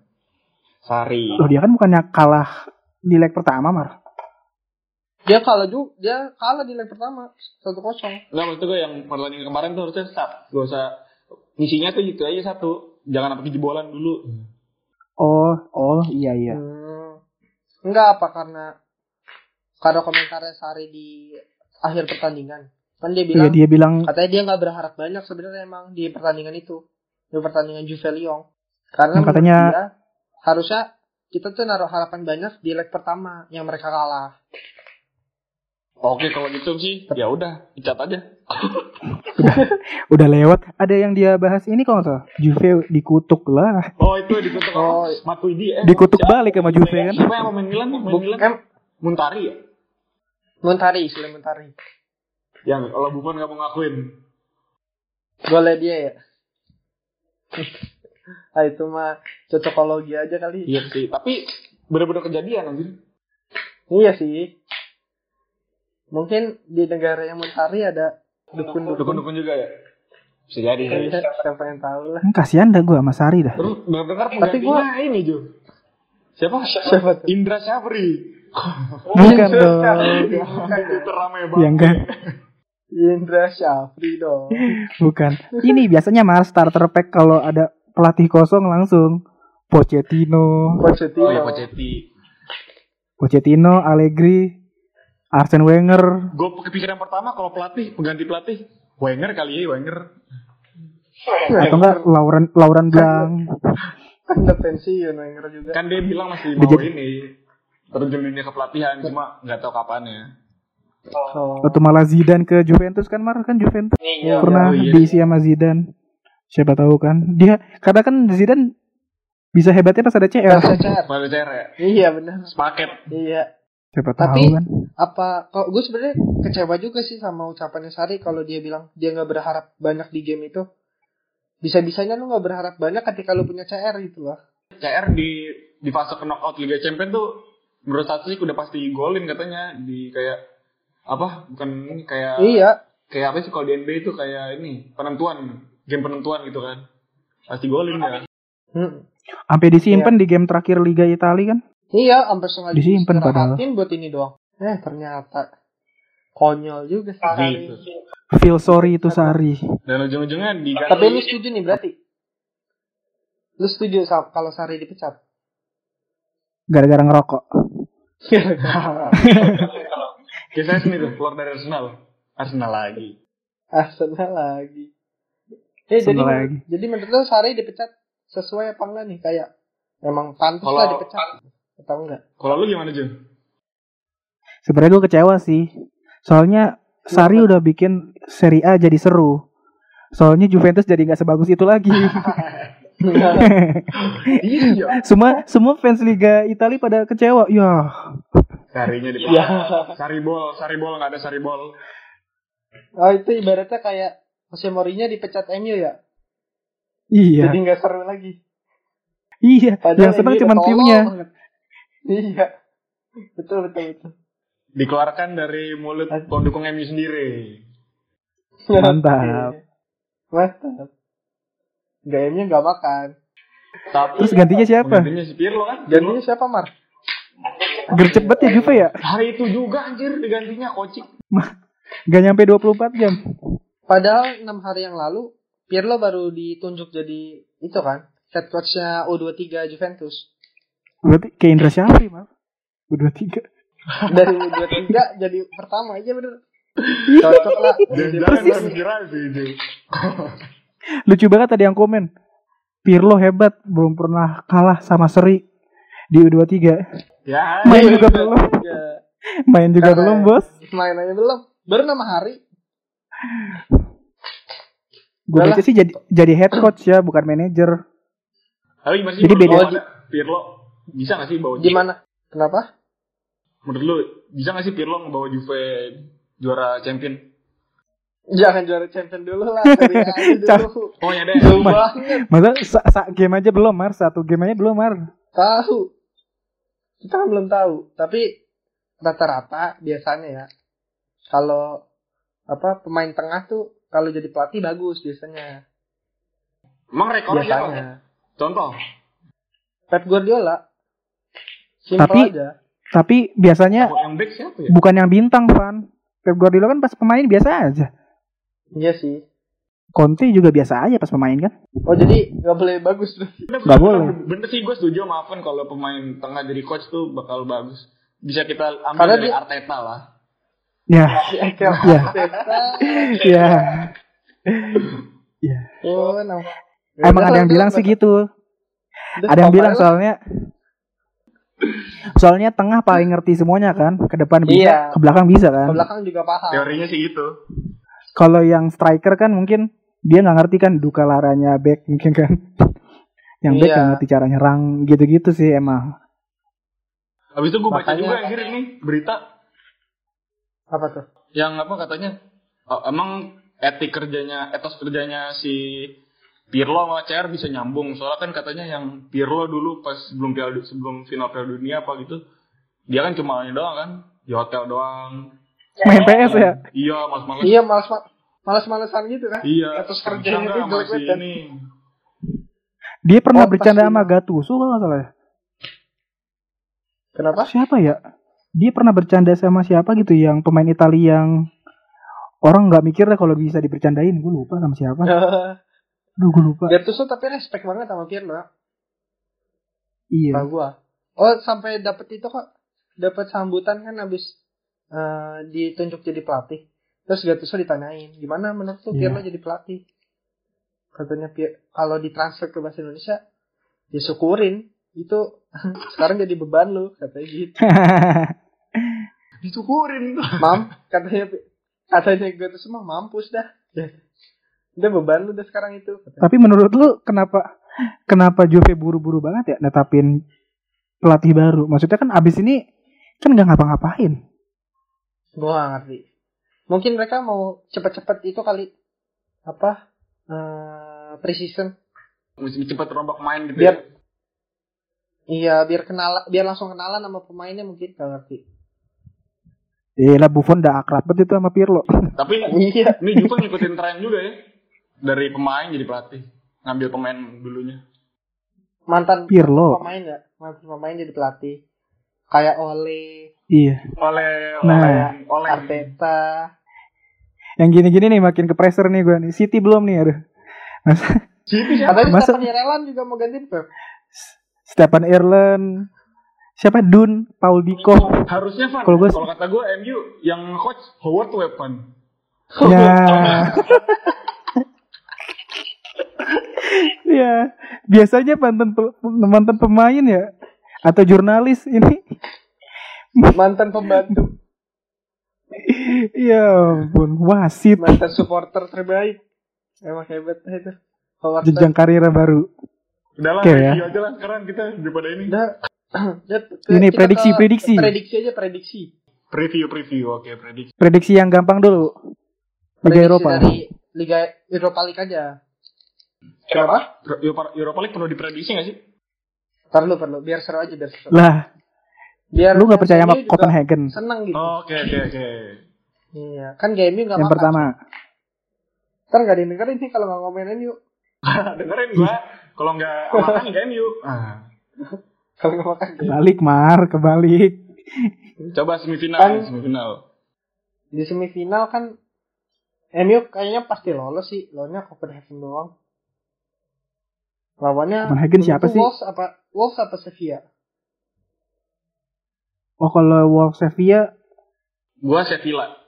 Speaker 1: Sari.
Speaker 3: Loh dia kan bukannya kalah di leg pertama, Mar.
Speaker 4: Dia kalah juga, dia kalah di leg pertama 1-0.
Speaker 1: Enggak maksud gue yang pertandingan kemarin tuh harusnya start. Gak usah misinya tuh itu aja satu. Jangan sampai kejebolan dulu.
Speaker 3: Oh, oh iya iya.
Speaker 4: Hmm. Enggak apa karena karena komentarnya Sari di akhir pertandingan. Kan dia
Speaker 3: Iya
Speaker 4: bilang
Speaker 3: dia bilang
Speaker 4: katanya dia nggak berharap banyak sebenarnya emang di pertandingan itu. Di pertandingan Juve Lyon. Karena
Speaker 3: Yang
Speaker 4: menurut
Speaker 3: Nah, katanya-
Speaker 4: dia, harusnya kita tuh naruh harapan banyak di leg pertama yang mereka kalah.
Speaker 1: Oke kalau gitu sih ya udah dicat aja.
Speaker 3: udah lewat. Ada yang dia bahas ini kok nggak salah. Juve dikutuk lah.
Speaker 1: Oh itu dikutuk oh,
Speaker 4: Oh.
Speaker 1: Matuidi eh.
Speaker 3: Dikutuk
Speaker 1: siapa?
Speaker 3: balik sama Juve kan.
Speaker 1: Siapa yang mau main Milan? Main
Speaker 4: Buk-
Speaker 1: Milan?
Speaker 4: em,
Speaker 1: Muntari ya?
Speaker 4: Montari, Sule Montari.
Speaker 1: Yang kalau Buffon gak mau ngakuin.
Speaker 4: Golnya dia ya. ah itu mah cocokologi aja kali.
Speaker 1: Iya sih, tapi bener-bener kejadian anjir.
Speaker 4: Iya sih. Mungkin di negara yang mentari ada dukun-dukun.
Speaker 1: Dukun-dukun juga ya? Bisa jadi.
Speaker 4: Iya, Siapa yang tahu lah.
Speaker 3: Hmm, kasihan dah gue sama Sari dah.
Speaker 1: Terus dengar-dengar
Speaker 4: Tapi
Speaker 1: penggantinya ini Jo. Siapa?
Speaker 4: Siapa tuh?
Speaker 1: Indra Syafri.
Speaker 3: Bukan dong.
Speaker 1: Itu ramai banget.
Speaker 3: Ya enggak,
Speaker 4: Indra Syafri dong.
Speaker 3: bukan. Ini biasanya Mar starter pack kalau ada pelatih kosong langsung Pochettino,
Speaker 4: iya, Pochettino.
Speaker 1: Oh ya Pochetti.
Speaker 3: Pochettino, Allegri, Arsene Wenger.
Speaker 1: Gue kepikiran pertama kalau pelatih, pengganti pelatih. Wenger kali ya, Wenger.
Speaker 3: Atau enggak Lauren Lauren Blanc.
Speaker 4: Kan udah pensiun Wenger juga.
Speaker 1: Kan dia bilang masih
Speaker 3: Dia
Speaker 1: mau
Speaker 3: jadi-
Speaker 1: ini. Terjun dunia kepelatihan, cuma nggak tahu kapan ya.
Speaker 4: Oh.
Speaker 3: Atau malah Zidane ke Juventus kan Mar kan Juventus.
Speaker 4: Iya.
Speaker 3: pernah
Speaker 1: iya.
Speaker 3: diisi sama Zidane. Siapa tahu kan? Dia karena kan Zidane bisa hebatnya pas ada CR.
Speaker 4: Bahasa CR.
Speaker 1: Baru CR ya?
Speaker 4: Iya benar.
Speaker 1: Sepaket.
Speaker 4: Iya.
Speaker 3: Siapa tahu
Speaker 4: Tapi-
Speaker 3: kan?
Speaker 4: Apa kalau gue sebenarnya kecewa juga sih sama ucapannya Sari kalau dia bilang dia nggak berharap banyak di game itu. Bisa-bisanya lu nggak berharap banyak ketika lu punya CR gitu lah.
Speaker 1: CR di di fase knockout Liga Champions tuh menurut statistik udah pasti golin katanya di kayak apa bukan ini, kayak
Speaker 4: Iya.
Speaker 1: kayak apa sih kalau di NBA itu kayak ini penentuan game penentuan gitu kan pasti golin ya
Speaker 4: Mm.
Speaker 3: Sampai disimpan di game terakhir Liga Italia kan?
Speaker 4: Iya, sampai sengaja
Speaker 3: Disimpan padahal.
Speaker 4: istirahatin buat ini doang. Eh, ternyata konyol juga sih. Sari.
Speaker 1: Gitu.
Speaker 3: Feel sorry itu Sari.
Speaker 1: dan ujung-ujungnya diganti
Speaker 4: Tapi lu setuju nih berarti? Lu setuju sa- kalau Sari dipecat?
Speaker 3: Gara-gara ngerokok.
Speaker 1: kisahnya sendiri tuh keluar dari Arsenal Arsenal lagi
Speaker 4: Arsenal Ah, lagi. Eh, jadi,
Speaker 3: Seneng lagi.
Speaker 4: jadi menurut lu Sari dipecat sesuai apa enggak nih? Kayak emang pantas
Speaker 1: Kalau-
Speaker 4: lah dipecat. Atau enggak?
Speaker 1: kalau lu gimana Jun?
Speaker 3: Sebenarnya gue kecewa sih. Soalnya Sari udah bikin Serie A jadi seru. Soalnya Juventus jadi nggak sebagus itu lagi.
Speaker 1: iya
Speaker 3: semua semua fans Liga Italia pada kecewa. Ya,
Speaker 1: sarinya di
Speaker 4: Iya.
Speaker 1: saribol saribol nggak ada saribol
Speaker 4: Oh, itu ibaratnya kayak Jose Mourinho dipecat MU ya?
Speaker 3: iya,
Speaker 4: Jadi nggak seru lagi.
Speaker 3: iya.
Speaker 4: Padahal
Speaker 3: Yang senang
Speaker 4: MU
Speaker 3: cuma
Speaker 4: tolol
Speaker 3: timnya.
Speaker 4: banget. Iya. Betul, betul, betul.
Speaker 1: dikeluarkan dari mulut pendukung MU sendiri
Speaker 3: Mantap.
Speaker 4: Iya. Mantap. Gayanya nggak makan.
Speaker 1: tapi
Speaker 3: Terus gantinya siapa?
Speaker 1: Penggantinya si Pirlo kan?
Speaker 4: Gantinya siapa Mar?
Speaker 3: Gercep banget ya Juve ya
Speaker 1: Hari itu juga anjir digantinya kocik.
Speaker 3: Gak nyampe 24 jam
Speaker 4: Padahal enam hari yang lalu Pirlo baru ditunjuk jadi itu kan head coachnya U23 Juventus.
Speaker 3: Berarti kayak Indra Syafri mal Udah tiga
Speaker 4: Dari U23 jadi pertama aja bener. Cocok lah.
Speaker 1: Jangan konspirasi itu.
Speaker 3: Lucu banget ada yang komen Pirlo hebat Belum pernah kalah sama Seri Di U23
Speaker 1: Ya,
Speaker 3: Main
Speaker 1: iya,
Speaker 3: juga
Speaker 1: iya.
Speaker 3: belum.
Speaker 4: Ya,
Speaker 3: Main juga
Speaker 4: Karena-
Speaker 3: belum, Bos.
Speaker 4: main aja belum. Baru nama hari.
Speaker 3: Gue
Speaker 4: Udah
Speaker 3: baca sih jadi jadi head coach ya, bukan manajer.
Speaker 1: Tapi gimana sih?
Speaker 3: Jadi
Speaker 1: menurut
Speaker 3: beda.
Speaker 1: lu, Wana? Pirlo bisa nggak sih
Speaker 3: Oh, iya.
Speaker 1: bawa Juve?
Speaker 4: Gimana? Kenapa?
Speaker 1: Menurut lu bisa nggak sih Pirlo bawa Juve juara champion?
Speaker 4: Jangan juara champion dulu lah. Seri A aja dulu.
Speaker 1: Oh ya deh.
Speaker 4: Jauh banget.
Speaker 3: Masa sa- sa- game aja belum, Mar. Satu game aja belum, Mar.
Speaker 4: Tahu. Kita kan belum tahu. Tapi rata-rata biasanya ya. Kalau apa pemain tengah tuh kalau jadi pelatih bagus biasanya.
Speaker 1: Emang rekornya siapa?
Speaker 4: Biasanya.
Speaker 1: Contoh.
Speaker 4: Pep Guardiola. Simple
Speaker 3: Tapi-
Speaker 4: aja.
Speaker 3: Tapi biasanya
Speaker 1: Kalau yang back siapa ya?
Speaker 3: bukan yang bintang, Van. Pep Guardiola kan pas pemain biasa aja.
Speaker 4: Iya sih.
Speaker 3: Conte juga biasa aja pas pemain kan.
Speaker 4: Oh jadi nggak boleh bagus tuh.
Speaker 1: Bener,
Speaker 3: Nggak
Speaker 1: bener,
Speaker 3: boleh.
Speaker 1: bener, Bener sih gue setuju sama Afan kalau pemain tengah jadi coach tuh bakal bagus. Bisa kita ambil
Speaker 4: Karena
Speaker 1: dari
Speaker 4: dia-
Speaker 1: Arteta lah.
Speaker 3: Ya, Iya. ya.
Speaker 4: Oh, no.
Speaker 3: Emang
Speaker 4: iya,
Speaker 3: ada yang bilang sih gitu. Ada yang bilang soalnya Soalnya tengah paling ngerti semuanya kan, ke depan
Speaker 4: Iya.
Speaker 3: bisa, ke belakang bisa
Speaker 4: ke
Speaker 3: kan.
Speaker 4: belakang juga paham.
Speaker 1: Teorinya sih gitu.
Speaker 3: Kalau yang striker kan mungkin dia nggak ngerti kan duka laranya back mungkin kan. Yang back
Speaker 4: Iya.
Speaker 3: nggak ngerti cara nyerang gitu-gitu sih emang.
Speaker 1: Habis itu gue baca
Speaker 4: Makanya-
Speaker 1: juga akhir ini berita
Speaker 4: Apa tuh?
Speaker 1: yang apa katanya oh, emang etik kerjanya, etos kerjanya si Pirlo sama CR bisa nyambung. Soalnya kan katanya yang Pirlo dulu pas sebelum Piala Du- sebelum final Piala Dunia apa gitu, dia kan cuma ini doang kan, di hotel doang.
Speaker 3: Main PS ya.
Speaker 1: Iya, mas-mas
Speaker 4: Iya, malas malas-malasan gitu kan.
Speaker 1: Iya.
Speaker 4: Atas kerjanya
Speaker 1: Enggak,
Speaker 4: dia
Speaker 1: sama
Speaker 4: jelek
Speaker 1: si
Speaker 4: banget kan.
Speaker 1: ini.
Speaker 3: Dia pernah
Speaker 4: Kontak
Speaker 3: bercanda
Speaker 4: sih,
Speaker 3: sama
Speaker 4: Bang.
Speaker 3: Gattuso kalau nggak salah. ya.
Speaker 4: Kenapa?
Speaker 3: Siapa ya? Dia pernah bercanda sama siapa gitu yang pemain Italia yang orang nggak mikir lah kalau bisa dibercandain. Gue lupa sama siapa.
Speaker 4: Ya.
Speaker 3: Aduh, gue lupa.
Speaker 4: Gattuso tapi respect banget sama Pirlo,
Speaker 3: Iya.
Speaker 4: sama gua. Oh, sampai dapet itu kok. Dapet sambutan kan habis eh, ditunjuk jadi pelatih. Terus Gattuso ditanyain, gimana menurut lu
Speaker 3: Iya.
Speaker 4: Pirlo jadi pelatih? Katanya Pir- kalau ditransfer ke bahasa Indonesia, ya syukurin. Itu sekarang jadi beban lu, katanya gitu.
Speaker 1: Dicukurin.
Speaker 4: Mam, katanya katanya gue tuh semua mampus dah.
Speaker 3: Iya.
Speaker 4: Ya. Udah beban lu udah sekarang itu. katanya.
Speaker 3: Tapi menurut lu kenapa kenapa Juve buru-buru banget ya netapin pelatih baru? Maksudnya kan abis ini kan nggak ngapa-ngapain.
Speaker 4: Gua gak ngerti. Mungkin mereka mau cepet-cepet itu kali apa? eh precision.
Speaker 1: Mesti cepat rombak main gitu.
Speaker 4: Biar-
Speaker 1: ya.
Speaker 4: Iya, biar kenal biar langsung kenalan sama pemainnya mungkin gak ngerti.
Speaker 3: Iya Buffon udah akrab banget itu sama Pirlo.
Speaker 1: Tapi
Speaker 4: Iya.
Speaker 1: ini Juve ngikutin tren juga ya. Dari pemain jadi pelatih. Ngambil pemain dulunya.
Speaker 4: Mantan
Speaker 3: Pirlo.
Speaker 4: pemain ya, mantan pemain jadi pelatih. Kayak Ole,
Speaker 3: Iya.
Speaker 1: Oleh
Speaker 3: Nah.
Speaker 1: oleh oleh
Speaker 4: Arteta.
Speaker 3: Yang gini-gini nih makin ke pressure nih gue nih. City belum nih aduh. Mas,
Speaker 1: City siapa?
Speaker 4: Katanya
Speaker 3: Masa-
Speaker 4: Masa... Ireland juga mau ganti Pep.
Speaker 3: Stefan Erlen. Siapa Dun, Paul Diko.
Speaker 1: Harusnya Van,
Speaker 3: Kalau
Speaker 1: kalau
Speaker 3: gua-
Speaker 1: kata gue MU yang coach Howard Weapon.
Speaker 3: Ya. ya, biasanya mantan pe- mantan pemain ya atau jurnalis ini.
Speaker 4: Mantan pembantu,
Speaker 3: Ya ampun, wasit
Speaker 4: mantan supporter terbaik. Emang hebat itu. Howard
Speaker 3: jenjang karir baru.
Speaker 1: Udahlah,
Speaker 3: Oke,
Speaker 1: okay,
Speaker 3: ya.
Speaker 1: aja lah sekarang kita daripada ini.
Speaker 4: Udah. Udah, ke-
Speaker 3: Ini
Speaker 4: kita
Speaker 3: prediksi,
Speaker 4: ke
Speaker 3: prediksi.
Speaker 4: Prediksi aja prediksi.
Speaker 1: Preview preview, oke prediksi.
Speaker 3: Prediksi yang gampang dulu. Liga
Speaker 4: Prediksi
Speaker 3: Eropa.
Speaker 4: dari Liga Eropa League aja. Kenapa?
Speaker 1: Euro- Europa League perlu diprediksi nggak sih?
Speaker 4: Perlu perlu biar seru aja biar seru.
Speaker 3: Lah,
Speaker 4: Biar
Speaker 3: lu nggak percaya sama
Speaker 4: MU juga
Speaker 3: Copenhagen?
Speaker 4: Seneng gitu.
Speaker 1: Oke oke oke.
Speaker 4: Iya, kan game enggak
Speaker 3: Yang pertama.
Speaker 4: Ntar enggak didengerin sih kalau enggak ngomelin yuk.
Speaker 1: Dengerin gua kalau nggak makan nggak MU. Ah.
Speaker 4: Kalau enggak makan.
Speaker 3: Kebalik, Mar, kebalik.
Speaker 1: Coba semifinal,
Speaker 4: Kan-
Speaker 1: semifinal.
Speaker 4: Di semifinal kan MU kayaknya pasti lolos sih. Lawannya Copenhagen doang. Lawannya
Speaker 3: Copenhagen
Speaker 4: dulu
Speaker 3: siapa
Speaker 4: tuh
Speaker 3: sih?
Speaker 4: Wolves apa Wolves apa Sevilla?
Speaker 3: Oh, kalau Wolves Sevilla,
Speaker 1: Gua Sevilla.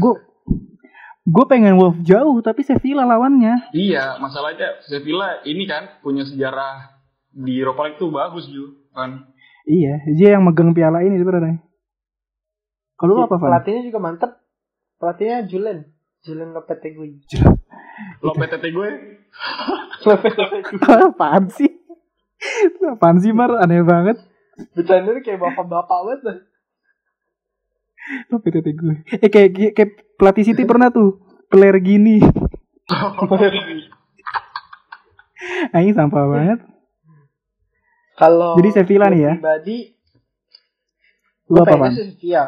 Speaker 3: gue gue pengen Wolf jauh tapi Sevilla lawannya.
Speaker 1: Iya, masalahnya Sevilla ini kan punya sejarah di Europa League tuh bagus Ju kan
Speaker 3: Iya, dia yang megang piala ini sebenarnya. Kalau lu
Speaker 4: Iya,
Speaker 3: apa, Van?
Speaker 4: Pelatihnya juga mantep. Pelatihnya Julen. Julen Lopetegui.
Speaker 3: Iya.
Speaker 1: lo PTT gue
Speaker 4: Lopetegui.
Speaker 3: apaan sih? Lu apaan sih, Mar? Aneh banget.
Speaker 4: Bercanda kayak bapak-bapak banget. dah.
Speaker 3: Lu PTT gue. Eh, kayak, kayak, kayak pelatih City pernah tuh. Player gini. Anjing sampah banget.
Speaker 4: Kalau
Speaker 3: Jadi Sevilla nih ya?
Speaker 4: Pribadi,
Speaker 3: Lu
Speaker 4: gue
Speaker 3: apa, Van?
Speaker 4: pengennya sih Sevilla.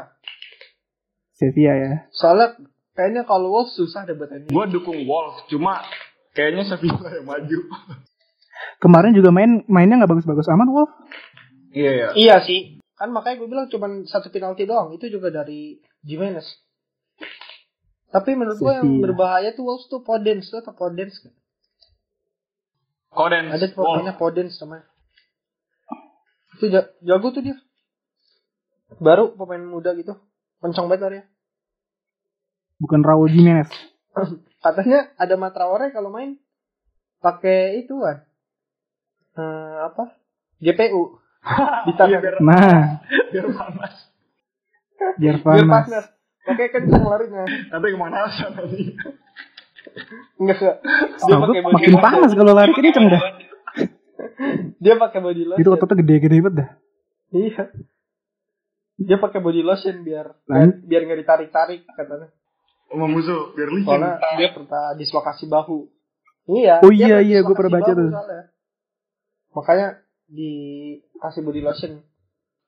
Speaker 3: Sevilla ya.
Speaker 4: Soalnya kayaknya kalau Wolves susah deh buat MU.
Speaker 1: gue dukung Wolves cuma kayaknya Sevilla yang maju
Speaker 3: Kemarin juga main mainnya nggak bagus-bagus amat, Wolf.
Speaker 1: iya iya
Speaker 4: Iya sih. Kan makanya gue bilang cuman satu penalti doang. Itu juga dari Jimenez. Tapi menurut gue yang
Speaker 3: Sevilla.
Speaker 4: berbahaya tuh Wolves tuh Podence. Tuh atau Podence.
Speaker 1: Koden
Speaker 4: Ada pokoknya Podence namanya. Itu ja- jago tuh dia. Baru pemain muda gitu. Kencang banget ya. larinya.
Speaker 3: Bukan Raul Jimenez.
Speaker 4: Katanya ada Matraore kalau main pakai itu kan. Eh, apa? GPU.
Speaker 1: Iya, biar,
Speaker 3: Nah,
Speaker 1: biar panas
Speaker 3: biar
Speaker 4: Gear
Speaker 3: panas.
Speaker 4: partner. Pakai kencang larinya.
Speaker 1: tapi kemanasan tadi
Speaker 4: Enggak enggak. Dia
Speaker 3: Nah,
Speaker 4: pakai
Speaker 3: gue
Speaker 4: body
Speaker 3: makin
Speaker 4: lotion.
Speaker 3: panas kalau lari kenceng dah.
Speaker 4: Dia pakai body lotion.
Speaker 3: Itu ototnya gede-gede banget dah.
Speaker 4: Iya. Dia pakai body lotion biar biar,
Speaker 3: Lain?
Speaker 4: biar nggak ditarik-tarik katanya.
Speaker 1: sama musuh biar licin
Speaker 4: Soalnya dia pernah dislokasi bahu. Iya.
Speaker 3: Oh iya,
Speaker 4: dia pernah
Speaker 3: iya, gua
Speaker 4: dislokasi
Speaker 3: pernah baca
Speaker 4: bahu
Speaker 3: tuh.
Speaker 4: soalnya. Makanya dikasih body lotion.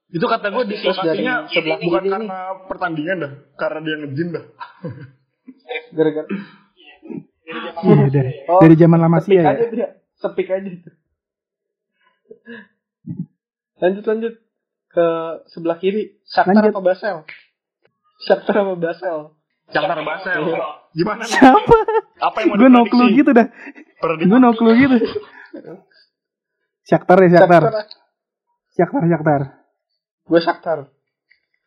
Speaker 1: itu kata gue
Speaker 4: Terus dari
Speaker 1: dislokasinya
Speaker 4: sebelah
Speaker 1: bukan
Speaker 4: kiri
Speaker 1: karena pertandingan dah karena dia ngejin dah
Speaker 4: Gara-gara
Speaker 3: Iya, dari,
Speaker 4: Oh,
Speaker 3: dari zaman lama sih
Speaker 4: sepik
Speaker 3: ya.
Speaker 4: aja dia. Sepik aja itu. Lanjut lanjut ke sebelah kiri. Shakhtar
Speaker 3: Lanjut.
Speaker 4: apa Basel? Shakhtar apa Basel?
Speaker 1: Shakhtar Basel
Speaker 4: Iya.
Speaker 1: gimana nih?
Speaker 3: Siapa?
Speaker 1: apa yang mau
Speaker 3: Gue no clue gitu dah.
Speaker 1: Prediksi.
Speaker 3: Gue no clue gitu. Shakhtar ya Shakhtar. Shakhtar Shakhtar.
Speaker 4: Gue Shakhtar.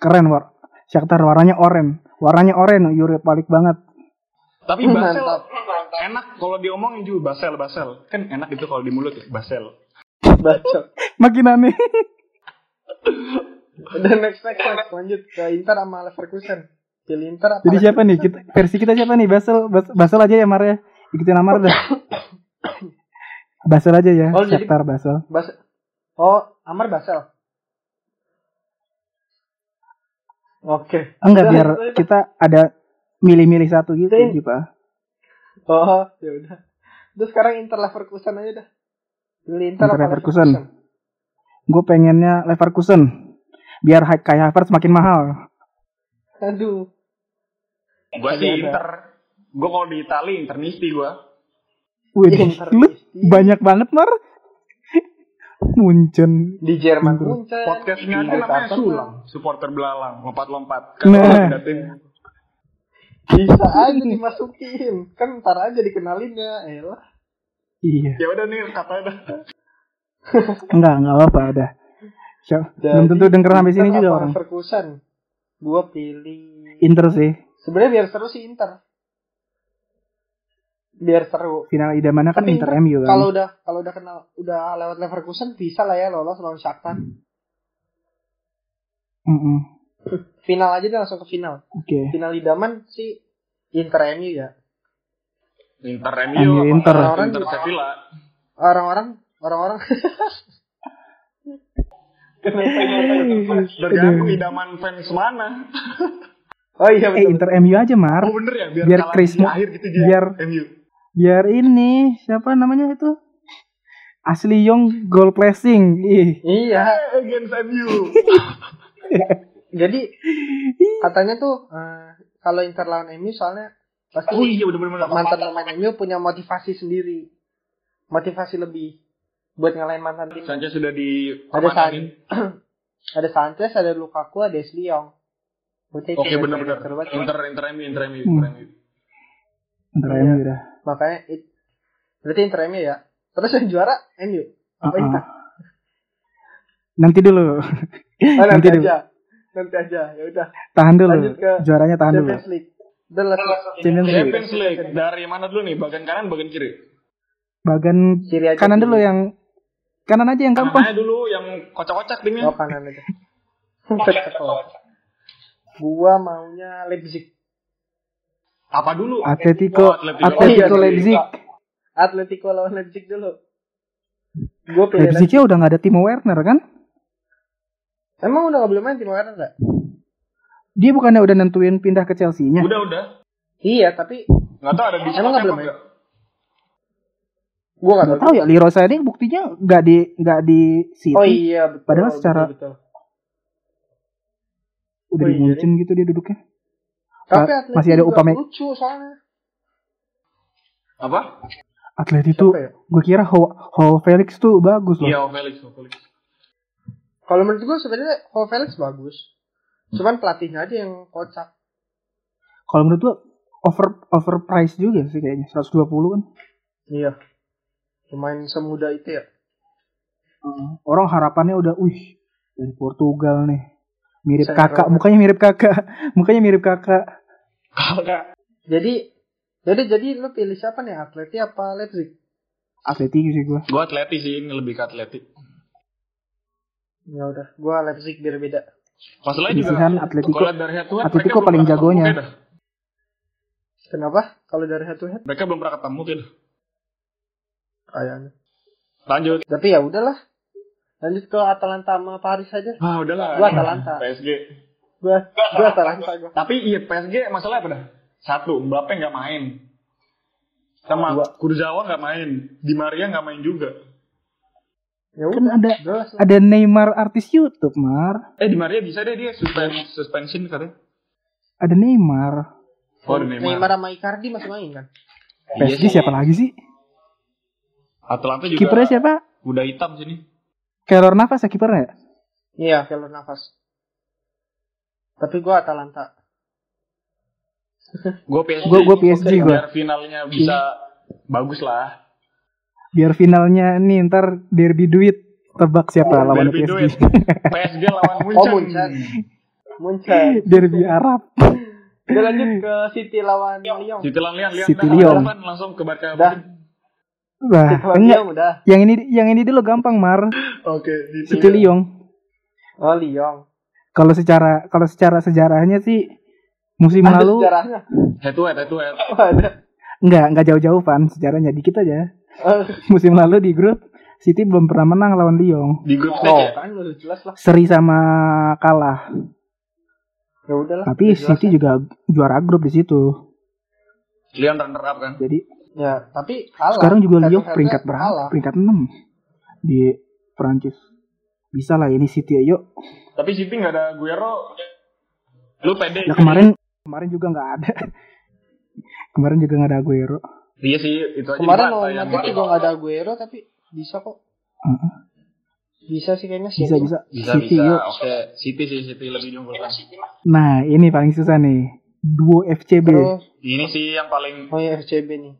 Speaker 3: Keren war. Shakhtar warnanya oranye. Warnanya oranye Europe balik banget.
Speaker 1: tapi
Speaker 4: Hmm,
Speaker 1: Basel
Speaker 4: mantap.
Speaker 1: enak kalau diomongin juga Basel Basel kan enak itu kalau di mulut ya Basel
Speaker 4: Bacot.
Speaker 3: Makin aneh.
Speaker 4: Dan next next next lanjut ke Inter sama Leverkusen. Pilih Inter apa?
Speaker 3: Jadi siapa nih? Kita, versi kita siapa nih? Basel Bas- Basel aja ya Mar ya. Ikutin Amar dah. Basel aja ya.
Speaker 4: Oh, jadi-
Speaker 3: Shakhtar Basel.
Speaker 4: Bas oh, Amar Basel. Oke.
Speaker 3: Enggak
Speaker 4: Udah,
Speaker 3: biar
Speaker 4: itu aja.
Speaker 3: kita ada milih-milih satu gitu
Speaker 4: Tin.
Speaker 3: gitu Pak.
Speaker 4: Oh, ya udah. Terus sekarang Inter Leverkusen aja dah. Pilih Inter,
Speaker 3: Inter
Speaker 4: apa
Speaker 3: Leverkusen. Gue pengennya Leverkusen. Biar Ha- Kai Havertz makin mahal.
Speaker 4: Aduh.
Speaker 1: gue
Speaker 4: Ada,
Speaker 1: sih
Speaker 4: ada.
Speaker 1: Inter gue kalau di Itali Internisti gue
Speaker 3: Wih,
Speaker 4: Inter
Speaker 3: lu
Speaker 4: Misti.
Speaker 3: banyak banget Mar. Muncen.
Speaker 4: Di Jerman
Speaker 3: Inter.
Speaker 4: Munchen.
Speaker 1: podcastnya
Speaker 4: di
Speaker 1: aja namanya
Speaker 4: Qatar.
Speaker 1: sulang supporter belalang lompat-lompat Kan
Speaker 3: Nah.
Speaker 1: kalau ada tim
Speaker 4: Bisa aja dimasukin. Kan ntar aja dikenalin ya. Elah.
Speaker 3: Iya.
Speaker 1: ya udah nih katanya dah
Speaker 3: Enggak, enggak apa-apa udah. Siap.
Speaker 4: Jadi,
Speaker 3: Belum tentu denger sampai sini
Speaker 4: Inter
Speaker 3: juga
Speaker 4: apa
Speaker 3: orang.
Speaker 4: Leverkusen. Gua pilih
Speaker 3: Inter sih.
Speaker 4: Sebenarnya biar seru sih Inter. Biar seru.
Speaker 3: Final idamannya kan
Speaker 4: Tapi
Speaker 3: Inter MU kan.
Speaker 4: Kalau udah kalau udah kenal udah lewat Leverkusen bisa lah ya lolos lawan Shakhtar.
Speaker 3: Mm-mm.
Speaker 4: Final aja deh langsung ke final.
Speaker 3: Oke.
Speaker 4: Final idaman si Inter MU ya.
Speaker 1: Inter
Speaker 3: MU,
Speaker 1: MU
Speaker 3: Inter.
Speaker 1: apa? Inter Sevilla
Speaker 4: Orang-orang orang-orang
Speaker 1: tergantung idaman fans mana
Speaker 4: Oh iya
Speaker 3: Eh
Speaker 4: betul.
Speaker 3: Inter MU aja, Mar.
Speaker 1: oh bener ya biar,
Speaker 3: Biar
Speaker 1: kalah
Speaker 3: Chris
Speaker 1: di
Speaker 3: Mo-
Speaker 1: akhir gitu dia
Speaker 3: biar-
Speaker 1: MU
Speaker 3: Biar ini siapa namanya itu? Asli Yong goal pressing. Ih.
Speaker 4: Iya.
Speaker 1: Eh, against MU
Speaker 4: Jadi katanya tuh eh, kalau Inter lawan MU soalnya pasti
Speaker 1: oh iya udah bener-bener
Speaker 4: mantan pemain MU punya motivasi sendiri. Motivasi lebih buat ngalahin mantan tim.
Speaker 1: Sanchez sudah di
Speaker 4: Ada San
Speaker 1: kemanain.
Speaker 4: ada Sanchez, ada Lukaku, ada Sliong.
Speaker 1: Oke benar-benar. Inter Inter MU Inter
Speaker 3: Hmm.
Speaker 1: MU Inter MU.
Speaker 3: Inter
Speaker 4: Iya.
Speaker 3: MU udah.
Speaker 4: Makanya it- berarti Inter MU ya. Terus yang juara MU. Apa
Speaker 3: Uh-uh.
Speaker 4: Inter?
Speaker 3: Nanti dulu.
Speaker 4: Oh, nanti,
Speaker 3: nanti dulu.
Speaker 4: aja. Nanti aja. Ya udah.
Speaker 3: Tahan dulu.
Speaker 4: Lanjut ke-
Speaker 3: Juaranya tahan dulu.
Speaker 4: Champions League. The last
Speaker 3: ya? Champions League.
Speaker 1: Champions League dari mana dulu nih? Bagian kanan, bagian kiri.
Speaker 3: Bagan
Speaker 4: Kiri aja,
Speaker 3: kanan
Speaker 4: kiri.
Speaker 3: dulu yang Kanan aja yang gampang.
Speaker 1: Namanya dulu yang kocak-kocak dingin.
Speaker 4: Oh, kanan aja. Gua maunya Leipzig.
Speaker 1: Apa dulu? Oh,
Speaker 3: Atletico,
Speaker 1: Atletico.
Speaker 3: Atletico
Speaker 4: Oh, iya,
Speaker 3: Leipzig.
Speaker 4: Atletico lawan Leipzig dulu. Gue pilih Leipzig.
Speaker 3: Leipzignya udah nggak ada Timo Werner kan?
Speaker 4: Emang udah gak belum main tim Werner nggak?
Speaker 3: Dia bukannya udah nentuin pindah ke Chelsea-nya?
Speaker 1: Udah udah.
Speaker 4: Iya, tapi
Speaker 1: Nggak tahu ada bisa
Speaker 4: Emang nggak
Speaker 1: apa
Speaker 4: belum ya?
Speaker 1: nggak.
Speaker 4: gue gak
Speaker 3: Nggak tahu ya, Leroy Sané buktinya nggak di nggak di City,
Speaker 4: Oh iya, betul.
Speaker 3: Padahal
Speaker 4: betul,
Speaker 3: secara-
Speaker 4: betul.
Speaker 3: udah
Speaker 4: oh
Speaker 3: di
Speaker 4: iya
Speaker 3: Munchen gitu dia duduknya.
Speaker 4: Tapi
Speaker 3: Pak,
Speaker 4: Atletico
Speaker 3: masih ada
Speaker 4: juga
Speaker 3: Upame-
Speaker 4: lucu soalnya.
Speaker 1: Apa?
Speaker 3: Atleti
Speaker 4: Siapa
Speaker 3: tuh,
Speaker 4: ya?
Speaker 3: gue kira Ho, Ho Felix tuh bagus
Speaker 1: Iya,
Speaker 3: loh.
Speaker 1: oh, Felix, oh, Felix.
Speaker 4: Kalau menurut gue sebenarnya Ho Felix bagus.
Speaker 3: Hmm.
Speaker 4: Cuman pelatihnya aja yang kocak.
Speaker 3: Kalau menurut gue over overpriced juga sih kayaknya 120 kan.
Speaker 4: Iya. Pemain semuda itu ya.
Speaker 3: Orang harapannya udah, wih dari Portugal nih. Mirip
Speaker 4: Saya
Speaker 3: kakak,
Speaker 4: kira-
Speaker 3: mukanya mirip kakak, mukanya mirip kakak.
Speaker 1: Kakak.
Speaker 4: Jadi jadi jadi lu pilih siapa nih Atleti apa Leipzig?
Speaker 3: Atleti sih gue.
Speaker 1: Gue atleti sih, ini lebih ke atleti.
Speaker 4: Ya udah, gua Leipzig biar beda.
Speaker 1: Masalahnya juga,
Speaker 3: Bisihan
Speaker 1: kalau
Speaker 3: Atletico.
Speaker 1: lihat dari head to head,
Speaker 3: Atletico
Speaker 1: mereka belum
Speaker 3: paling
Speaker 1: pernah ketemu
Speaker 3: jagonya.
Speaker 1: kayaknya.
Speaker 4: Kenapa? Kalau dari head to head
Speaker 1: Mereka belum pernah ketemu gitu.
Speaker 3: Ah, ya.
Speaker 4: kayaknya.
Speaker 1: Lanjut.
Speaker 4: Tapi ya udahlah. Lanjut ke Atalanta sama Paris aja.
Speaker 1: Ah, udahlah.
Speaker 4: Gua Atalanta.
Speaker 1: PSG.
Speaker 4: Gua gua Atalanta gua.
Speaker 1: Tapi iya PSG masalahnya apa dah? Satu, Mbappe nggak main. Sama
Speaker 4: Dua.
Speaker 1: Kurzawa nggak main. Di Maria nggak main juga.
Speaker 4: Ya
Speaker 3: Kan
Speaker 4: udah.
Speaker 3: ada
Speaker 4: Jelas lah.
Speaker 3: ada Neymar artis YouTube, Mar.
Speaker 1: Eh, Di Maria bisa deh dia suspend, suspension katanya.
Speaker 3: Ada Neymar.
Speaker 1: Oh, ada Neymar. Iya
Speaker 4: Neymar sama Icardi masih main kan?
Speaker 3: PSG siapa lagi sih?
Speaker 1: Atalanta juga
Speaker 3: Kipernya siapa?
Speaker 1: udah hitam sini.
Speaker 3: Keylor Navas ya kipernya ya?
Speaker 4: Iya, kalau nafas. Tapi gua Atalanta.
Speaker 1: Gue PSG.
Speaker 3: Gue gue PSG gue.
Speaker 1: Biar finalnya bisa bagus lah.
Speaker 3: Biar finalnya nih ntar derby duit tebak siapa
Speaker 4: Nah,
Speaker 3: lawan
Speaker 1: Oh, Derby
Speaker 3: PSG.
Speaker 1: duit. PSG lawan Munchen.
Speaker 4: Oh, Munchen. Munchen.
Speaker 3: derby Arab.
Speaker 4: Udah lanjut ke City lawan Lyon.
Speaker 1: City lawan Lyon, Lyon.
Speaker 3: City
Speaker 1: dah,
Speaker 3: Lyon.
Speaker 1: lawan langsung ke Barca.
Speaker 4: Dah.
Speaker 3: Wah,
Speaker 4: City lawan
Speaker 3: enggak.
Speaker 4: Lyon udah.
Speaker 3: Yang ini yang ini dulu gampang, Mar.
Speaker 1: Oke, di
Speaker 3: City
Speaker 4: Iya.
Speaker 3: Lyon.
Speaker 4: Oh, Lyon.
Speaker 3: Kalau secara kalau secara sejarahnya sih musim
Speaker 4: Ada
Speaker 3: lalu
Speaker 4: sejarahnya.
Speaker 1: Head to head, head to head.
Speaker 4: Oh, ada.
Speaker 3: enggak enggak jauh-jauh Van, sejarahnya dikit aja.
Speaker 4: Oh,
Speaker 3: Musim lalu di grup City belum pernah menang lawan Lyon.
Speaker 1: Di grup
Speaker 4: oh,
Speaker 1: stage ya.
Speaker 4: kan udah jelas lah.
Speaker 3: Seri sama kalah,
Speaker 4: Ya udahlah.
Speaker 3: tapi
Speaker 4: udah jelas
Speaker 3: City
Speaker 4: ya.
Speaker 3: juga juara grup di situ.
Speaker 1: Lyon runner up kan.
Speaker 3: Jadi
Speaker 4: Ya, tapi kalah.
Speaker 3: Sekarang juga Lyon
Speaker 4: Satu-satunya
Speaker 3: peringkat berapa?
Speaker 4: kalah.
Speaker 3: Peringkat 6 di Perancis. Bisa lah ini City ayo.
Speaker 1: Tapi City nggak ada Guero. Lu pede.
Speaker 3: Nah,
Speaker 4: Iya.
Speaker 3: kemarin kemarin juga nggak ada. kemarin juga nggak ada Aguero.
Speaker 1: Iya sih, itu aja
Speaker 4: Kemarin
Speaker 1: dibantai
Speaker 4: lawan
Speaker 1: yang
Speaker 4: Madrid
Speaker 1: itu.
Speaker 4: juga nggak ada Aguero tapi bisa kok.
Speaker 3: Heeh.
Speaker 4: Bisa sih kayaknya sih.
Speaker 3: Bisa bisa,
Speaker 1: Bisa,
Speaker 3: City
Speaker 1: bisa.
Speaker 3: yuk.
Speaker 1: Oke, City sih, City lebih diunggulkan.
Speaker 3: Nah, ini paling susah nih. Duo FCB.
Speaker 4: Terus,
Speaker 1: Ini sih yang paling
Speaker 4: oh ya FCB nih.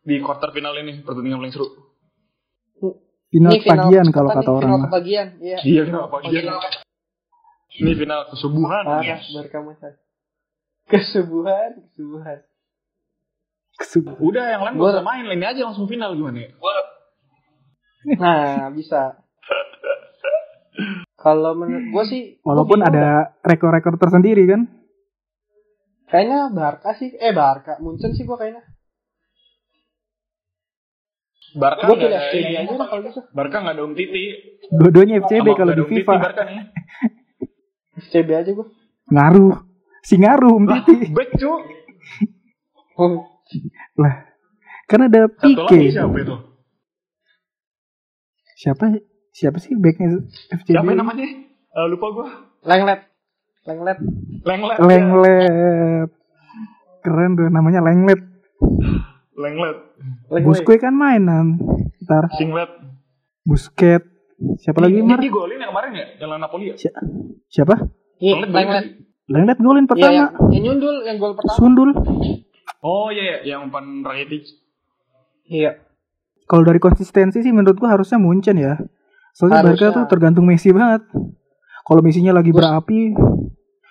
Speaker 1: di quarter final ini pertandingan paling seru.
Speaker 3: final
Speaker 4: Ini
Speaker 3: pagian
Speaker 4: kecepatan
Speaker 3: kalau
Speaker 4: nih,
Speaker 3: kata orang.
Speaker 4: Final kebagian, iya.
Speaker 1: Iya, Iya. kenapa? Dia ini final kesubuhan.
Speaker 4: Parah, berkamusan. Kesubuhan, kesubuhan.
Speaker 3: Kesu-
Speaker 1: Udah yang lain
Speaker 4: Gua-
Speaker 1: gak usah main, ini aja langsung final gimana ya?
Speaker 4: Nah, bisa. Kalau menurut gue sih, gua
Speaker 3: Walaupun
Speaker 4: bingung dah.
Speaker 3: ada rekor-rekor tersendiri kan.
Speaker 4: kayaknya Barca sih, eh Barca, Munchen sih gue kayaknya.
Speaker 1: Barca
Speaker 4: Gue
Speaker 1: nggak
Speaker 4: pilih
Speaker 1: ada ya, iya.
Speaker 4: FCB
Speaker 1: ini.
Speaker 4: aja lah kalau gitu.
Speaker 1: Barca nggak ada Umtiti.
Speaker 3: Dua-duanya FCB
Speaker 1: Sama
Speaker 3: Iya, kalau
Speaker 1: nggak
Speaker 3: di
Speaker 1: ada Umtiti,
Speaker 3: FIFA.
Speaker 1: Barca nih.
Speaker 4: FCB aja gue.
Speaker 3: Ngaruh. Si ngaruh Um
Speaker 1: Lah,
Speaker 3: Titi.
Speaker 1: back cu.
Speaker 3: Lah. Kan ada
Speaker 1: Satu lagi
Speaker 3: Pique.
Speaker 1: siapa itu?
Speaker 3: Siapa siapa sih backnya FCB?
Speaker 1: Siapa namanya? Eh, lupa gua.
Speaker 4: Lenglet, Lenglet.
Speaker 1: Lenglet.
Speaker 3: Lenglet. Keren tuh namanya Lenglet.
Speaker 1: Lenglet.
Speaker 4: Lenglet.
Speaker 3: Busquets kan mainan. Ntar
Speaker 1: Singlet.
Speaker 3: Busquets. Siapa lagi
Speaker 1: Ini
Speaker 3: Mar?
Speaker 1: dia golin yang kemarin ya, yang lawan Napoli ya?
Speaker 3: Si- Siapa?
Speaker 4: Iya,
Speaker 1: Lenglet golin
Speaker 4: Lenglet.
Speaker 1: nggak sih?
Speaker 3: Lenglet golin
Speaker 4: Iya, yang,
Speaker 3: pertama.
Speaker 4: yang nyundul, yang gol pertama.
Speaker 3: Sundul.
Speaker 1: Oh iya, iya. yang umpan Rakitic.
Speaker 4: Iya.
Speaker 3: Kalau dari konsistensi sih menurut gua harusnya Munchen ya. Soalnya
Speaker 4: Harusnya.
Speaker 3: Barca tuh tergantung Messi banget. Kalau Messinya lagi
Speaker 4: Gua-
Speaker 3: berapi.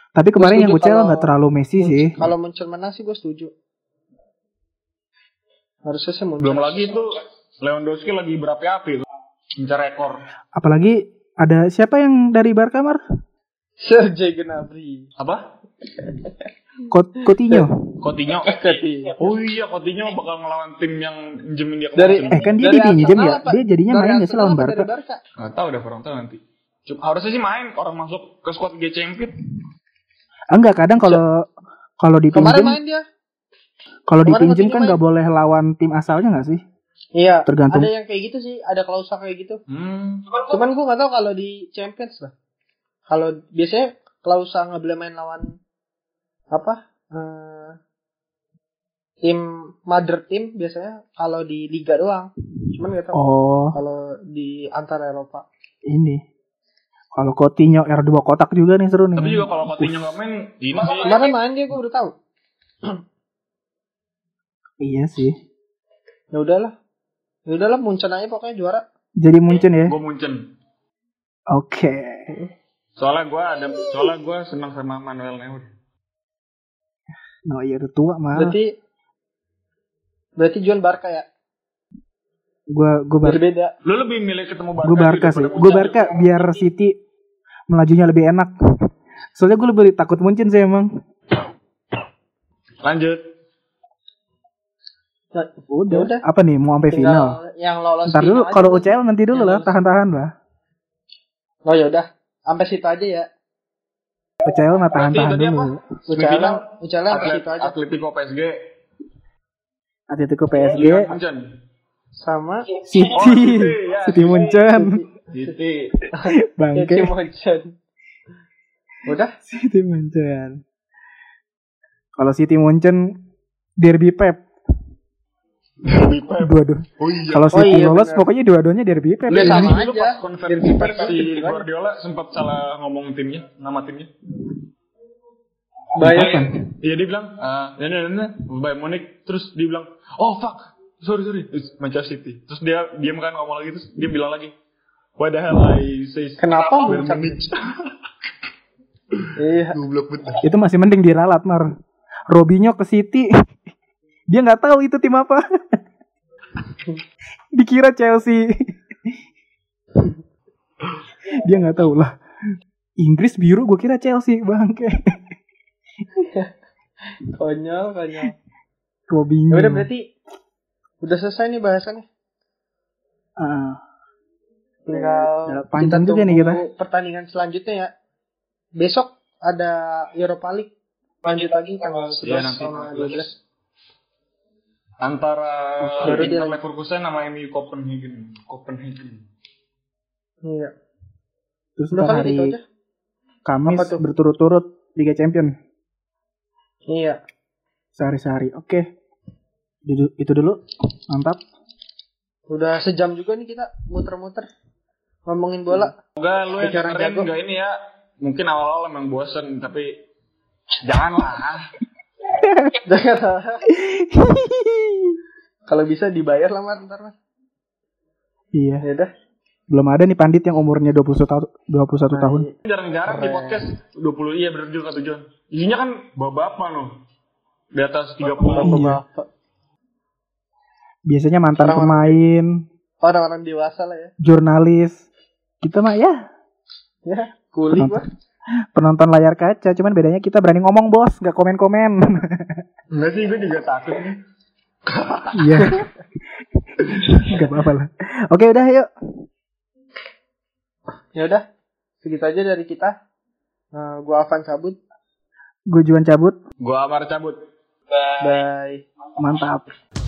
Speaker 3: Tapi kemarin yang
Speaker 4: setuju
Speaker 3: gue
Speaker 4: kalau-
Speaker 3: nggak terlalu Messi sih.
Speaker 4: Kalau Munchen menang sih gue setuju. Harusnya sih Munchen.
Speaker 1: Belum lagi itu Lewandowski lagi berapi-api tuh. Mencari rekor.
Speaker 3: Apalagi ada siapa yang dari Barca Mar?
Speaker 1: Hmm.
Speaker 4: Sergei Gnabry.
Speaker 1: Apa?
Speaker 3: Kot
Speaker 4: Eh.
Speaker 3: Coutinho.
Speaker 1: Coutinho.
Speaker 4: Coutinho.
Speaker 1: Oh iya, Coutinho bakal ngelawan tim yang minjemin dia
Speaker 4: Dari-
Speaker 1: kemarin.
Speaker 3: Eh kan dia
Speaker 4: Dari
Speaker 3: dipinjam
Speaker 4: Arsenal
Speaker 3: ya.
Speaker 4: apa?
Speaker 3: Dia jadinya
Speaker 4: Dari
Speaker 3: main nggak sih
Speaker 4: Arsenal
Speaker 3: lawan
Speaker 4: apa dari
Speaker 3: Barca?
Speaker 4: Barca?
Speaker 1: Nggak tahu dah kurang tahu nanti. Cuma harusnya sih main orang masuk ke squad Liga Champions.
Speaker 3: Ah, Enggak kadang kalau kalau
Speaker 4: Kemarin
Speaker 3: dipinjam
Speaker 4: main dia.
Speaker 3: kalau
Speaker 4: kemarin
Speaker 3: dipinjam
Speaker 4: Coutinho
Speaker 3: kan nggak boleh lawan tim asalnya nggak sih?
Speaker 4: Iya.
Speaker 3: Tergantung.
Speaker 4: Ada yang kayak gitu sih, ada klausa kayak gitu.
Speaker 1: Hmm.
Speaker 4: Cuman gue gak tahu kalau di Champions lah. Kalau biasanya klausa nggak boleh main lawan apa? eh, tim mother team biasanya kalau di liga doang. Cuman gak tahu
Speaker 3: Oh
Speaker 4: kalau di antara Eropa.
Speaker 3: ini. Kalau Coutinho R2 kotak juga nih seru nih.
Speaker 1: Tapi juga kalau Coutinho nggak main, ini sih.
Speaker 4: Kemarin main dia gue udah tahu.
Speaker 3: Iya sih.
Speaker 4: Ya udahlah. Ya udahlah Munchen aja pokoknya juara.
Speaker 3: Jadi Munchen ya.
Speaker 1: Gue Munchen.
Speaker 3: Oke.
Speaker 1: Soalnya gue ada, soalnya gue senang sama Manuel Neuer.
Speaker 3: No iya udah tua Mar.
Speaker 4: Berarti berarti Juan Barca ya.
Speaker 3: Gua gua Barca.
Speaker 4: Berbeda.
Speaker 1: Lu lebih milih ketemu Barca. gitu
Speaker 3: Gue Barca
Speaker 1: daripada
Speaker 3: sih.
Speaker 1: Munchen.
Speaker 3: Gue Barca biar City melajunya lebih enak. Soalnya gue lebih takut Munchen sih emang.
Speaker 1: Lanjut.
Speaker 4: Nah,
Speaker 3: Ya Udah.
Speaker 4: udah.
Speaker 3: Apa nih mau sampai final?
Speaker 4: tinggal yang lolos
Speaker 3: Ntar dulu
Speaker 4: final aja
Speaker 3: kalau
Speaker 4: tuh.
Speaker 3: UCL nanti dulu
Speaker 4: Yang
Speaker 3: lah,
Speaker 4: lolos.
Speaker 3: tahan-tahan lah.
Speaker 4: Oh ya udah. Sampai situ aja ya.
Speaker 3: UCL mah tahan-tahan
Speaker 1: tadi
Speaker 3: dulu.
Speaker 4: UCL,
Speaker 1: Semifinal,
Speaker 4: UCL
Speaker 3: Nah,
Speaker 4: sampai
Speaker 1: Atlet,
Speaker 4: situ
Speaker 3: gitu
Speaker 4: aja.
Speaker 1: Atletico PSG.
Speaker 3: Eh. Atletico
Speaker 1: Liga
Speaker 3: PSG,
Speaker 1: Munchen.
Speaker 4: Sama
Speaker 1: Oh,
Speaker 3: City,
Speaker 1: City, ya,
Speaker 3: City Munchen,
Speaker 1: City.
Speaker 4: City
Speaker 3: bangke
Speaker 4: Munchen. Udah,
Speaker 3: City Munchen. Kalau City Munchen derby Pep,
Speaker 1: Derby Pep.
Speaker 3: dua-dua.
Speaker 1: Oh iya.
Speaker 3: Kalau City
Speaker 4: iya,
Speaker 3: lolos
Speaker 4: benar.
Speaker 3: pokoknya dua-duanya derby Pep.
Speaker 1: Udah
Speaker 4: Iya,
Speaker 1: sama
Speaker 4: sama
Speaker 1: aja.
Speaker 4: aja.
Speaker 1: Pas konferensi
Speaker 4: Biar
Speaker 1: pers
Speaker 4: kita
Speaker 1: si
Speaker 4: kan.
Speaker 1: Guardiola sempat salah ngomong timnya, nama timnya.
Speaker 4: bayangkan.
Speaker 1: Iya dia bilang, ah, ya ya ya, Bayern Munich. Terus dia bilang, oh fuck, sorry sorry, It's Manchester City. Terus dia diam kan ngomong lagi, terus dia bilang lagi, why the hell I say
Speaker 4: Kenapa
Speaker 1: Bayern
Speaker 4: ngucap
Speaker 1: Munich?
Speaker 4: Iya.
Speaker 1: Goblok banget.
Speaker 3: Itu masih mending diralat, Mar. Robinho ke City. Dia nggak tahu itu tim apa. Dikira Chelsea. Dia nggak tahu lah. Inggris biru gue kira Chelsea, bangke.
Speaker 4: Konyol, konyol. Ya
Speaker 3: Robinho.
Speaker 4: udah berarti udah selesai nih bahasannya.
Speaker 3: Ah,
Speaker 4: Tinggal
Speaker 3: Udah Ya, panjang juga nih
Speaker 4: tunggu pertandingan selanjutnya ya. Besok ada Europa League. Lanjut lagi tanggal 11
Speaker 1: Iya, nanti
Speaker 4: sama
Speaker 1: 12.
Speaker 4: 12.
Speaker 1: Antara
Speaker 4: Baru dia-
Speaker 1: Inter Leverkusen sama MU Copenhagen. Copenhagen.
Speaker 4: Iya.
Speaker 3: terus
Speaker 4: Udah
Speaker 3: ntar
Speaker 4: kali itu
Speaker 3: hari
Speaker 4: aja.
Speaker 3: Kamis
Speaker 4: Apa tuh?
Speaker 3: berturut-turut Liga Champion
Speaker 4: Iya.
Speaker 3: sehari-sehari. Oke. Itu itu dulu. Mantap.
Speaker 4: Udah sejam juga nih kita muter-muter ngomongin bola.
Speaker 1: Semoga lu yang
Speaker 4: Bicara
Speaker 1: dengerin
Speaker 4: jago.
Speaker 1: nggak ini ya. Mungkin awal-awal emang bosen, tapi janganlah.
Speaker 4: Kalau bisa dibayar lah Mar, ntar Mar.
Speaker 3: iya.
Speaker 4: Ya udah.
Speaker 3: Belum ada nih pandit yang umurnya 21 tahun 21
Speaker 4: Nah,
Speaker 3: tahun.
Speaker 4: iya.
Speaker 1: Jarang-jarang di
Speaker 4: Keren.
Speaker 1: podcast 20 iya bener juga kata John. Isinya kan bapak-bapak loh. Di atas 30.
Speaker 3: Iya.
Speaker 4: Bapak-bapak.
Speaker 3: Biasanya mantan
Speaker 4: Orang-orang-
Speaker 3: pemain,
Speaker 4: Orang-orang dewasa lah ya.
Speaker 3: jurnalis. Kita mah ya
Speaker 4: Ya, kuli gua.
Speaker 3: penonton layar kaca, cuman bedanya kita berani ngomong, Bos, nggak komen-komen.
Speaker 1: Enggak sih, gue juga takut. nih.
Speaker 3: Iya. Enggak apa-apa lah. Oke, udah yuk.
Speaker 4: Ya udah. Segitu aja dari kita. Nah, gua Avan cabut.
Speaker 3: Gue juan cabut.
Speaker 1: Gua amar cabut.
Speaker 4: Bye.
Speaker 3: Mantap.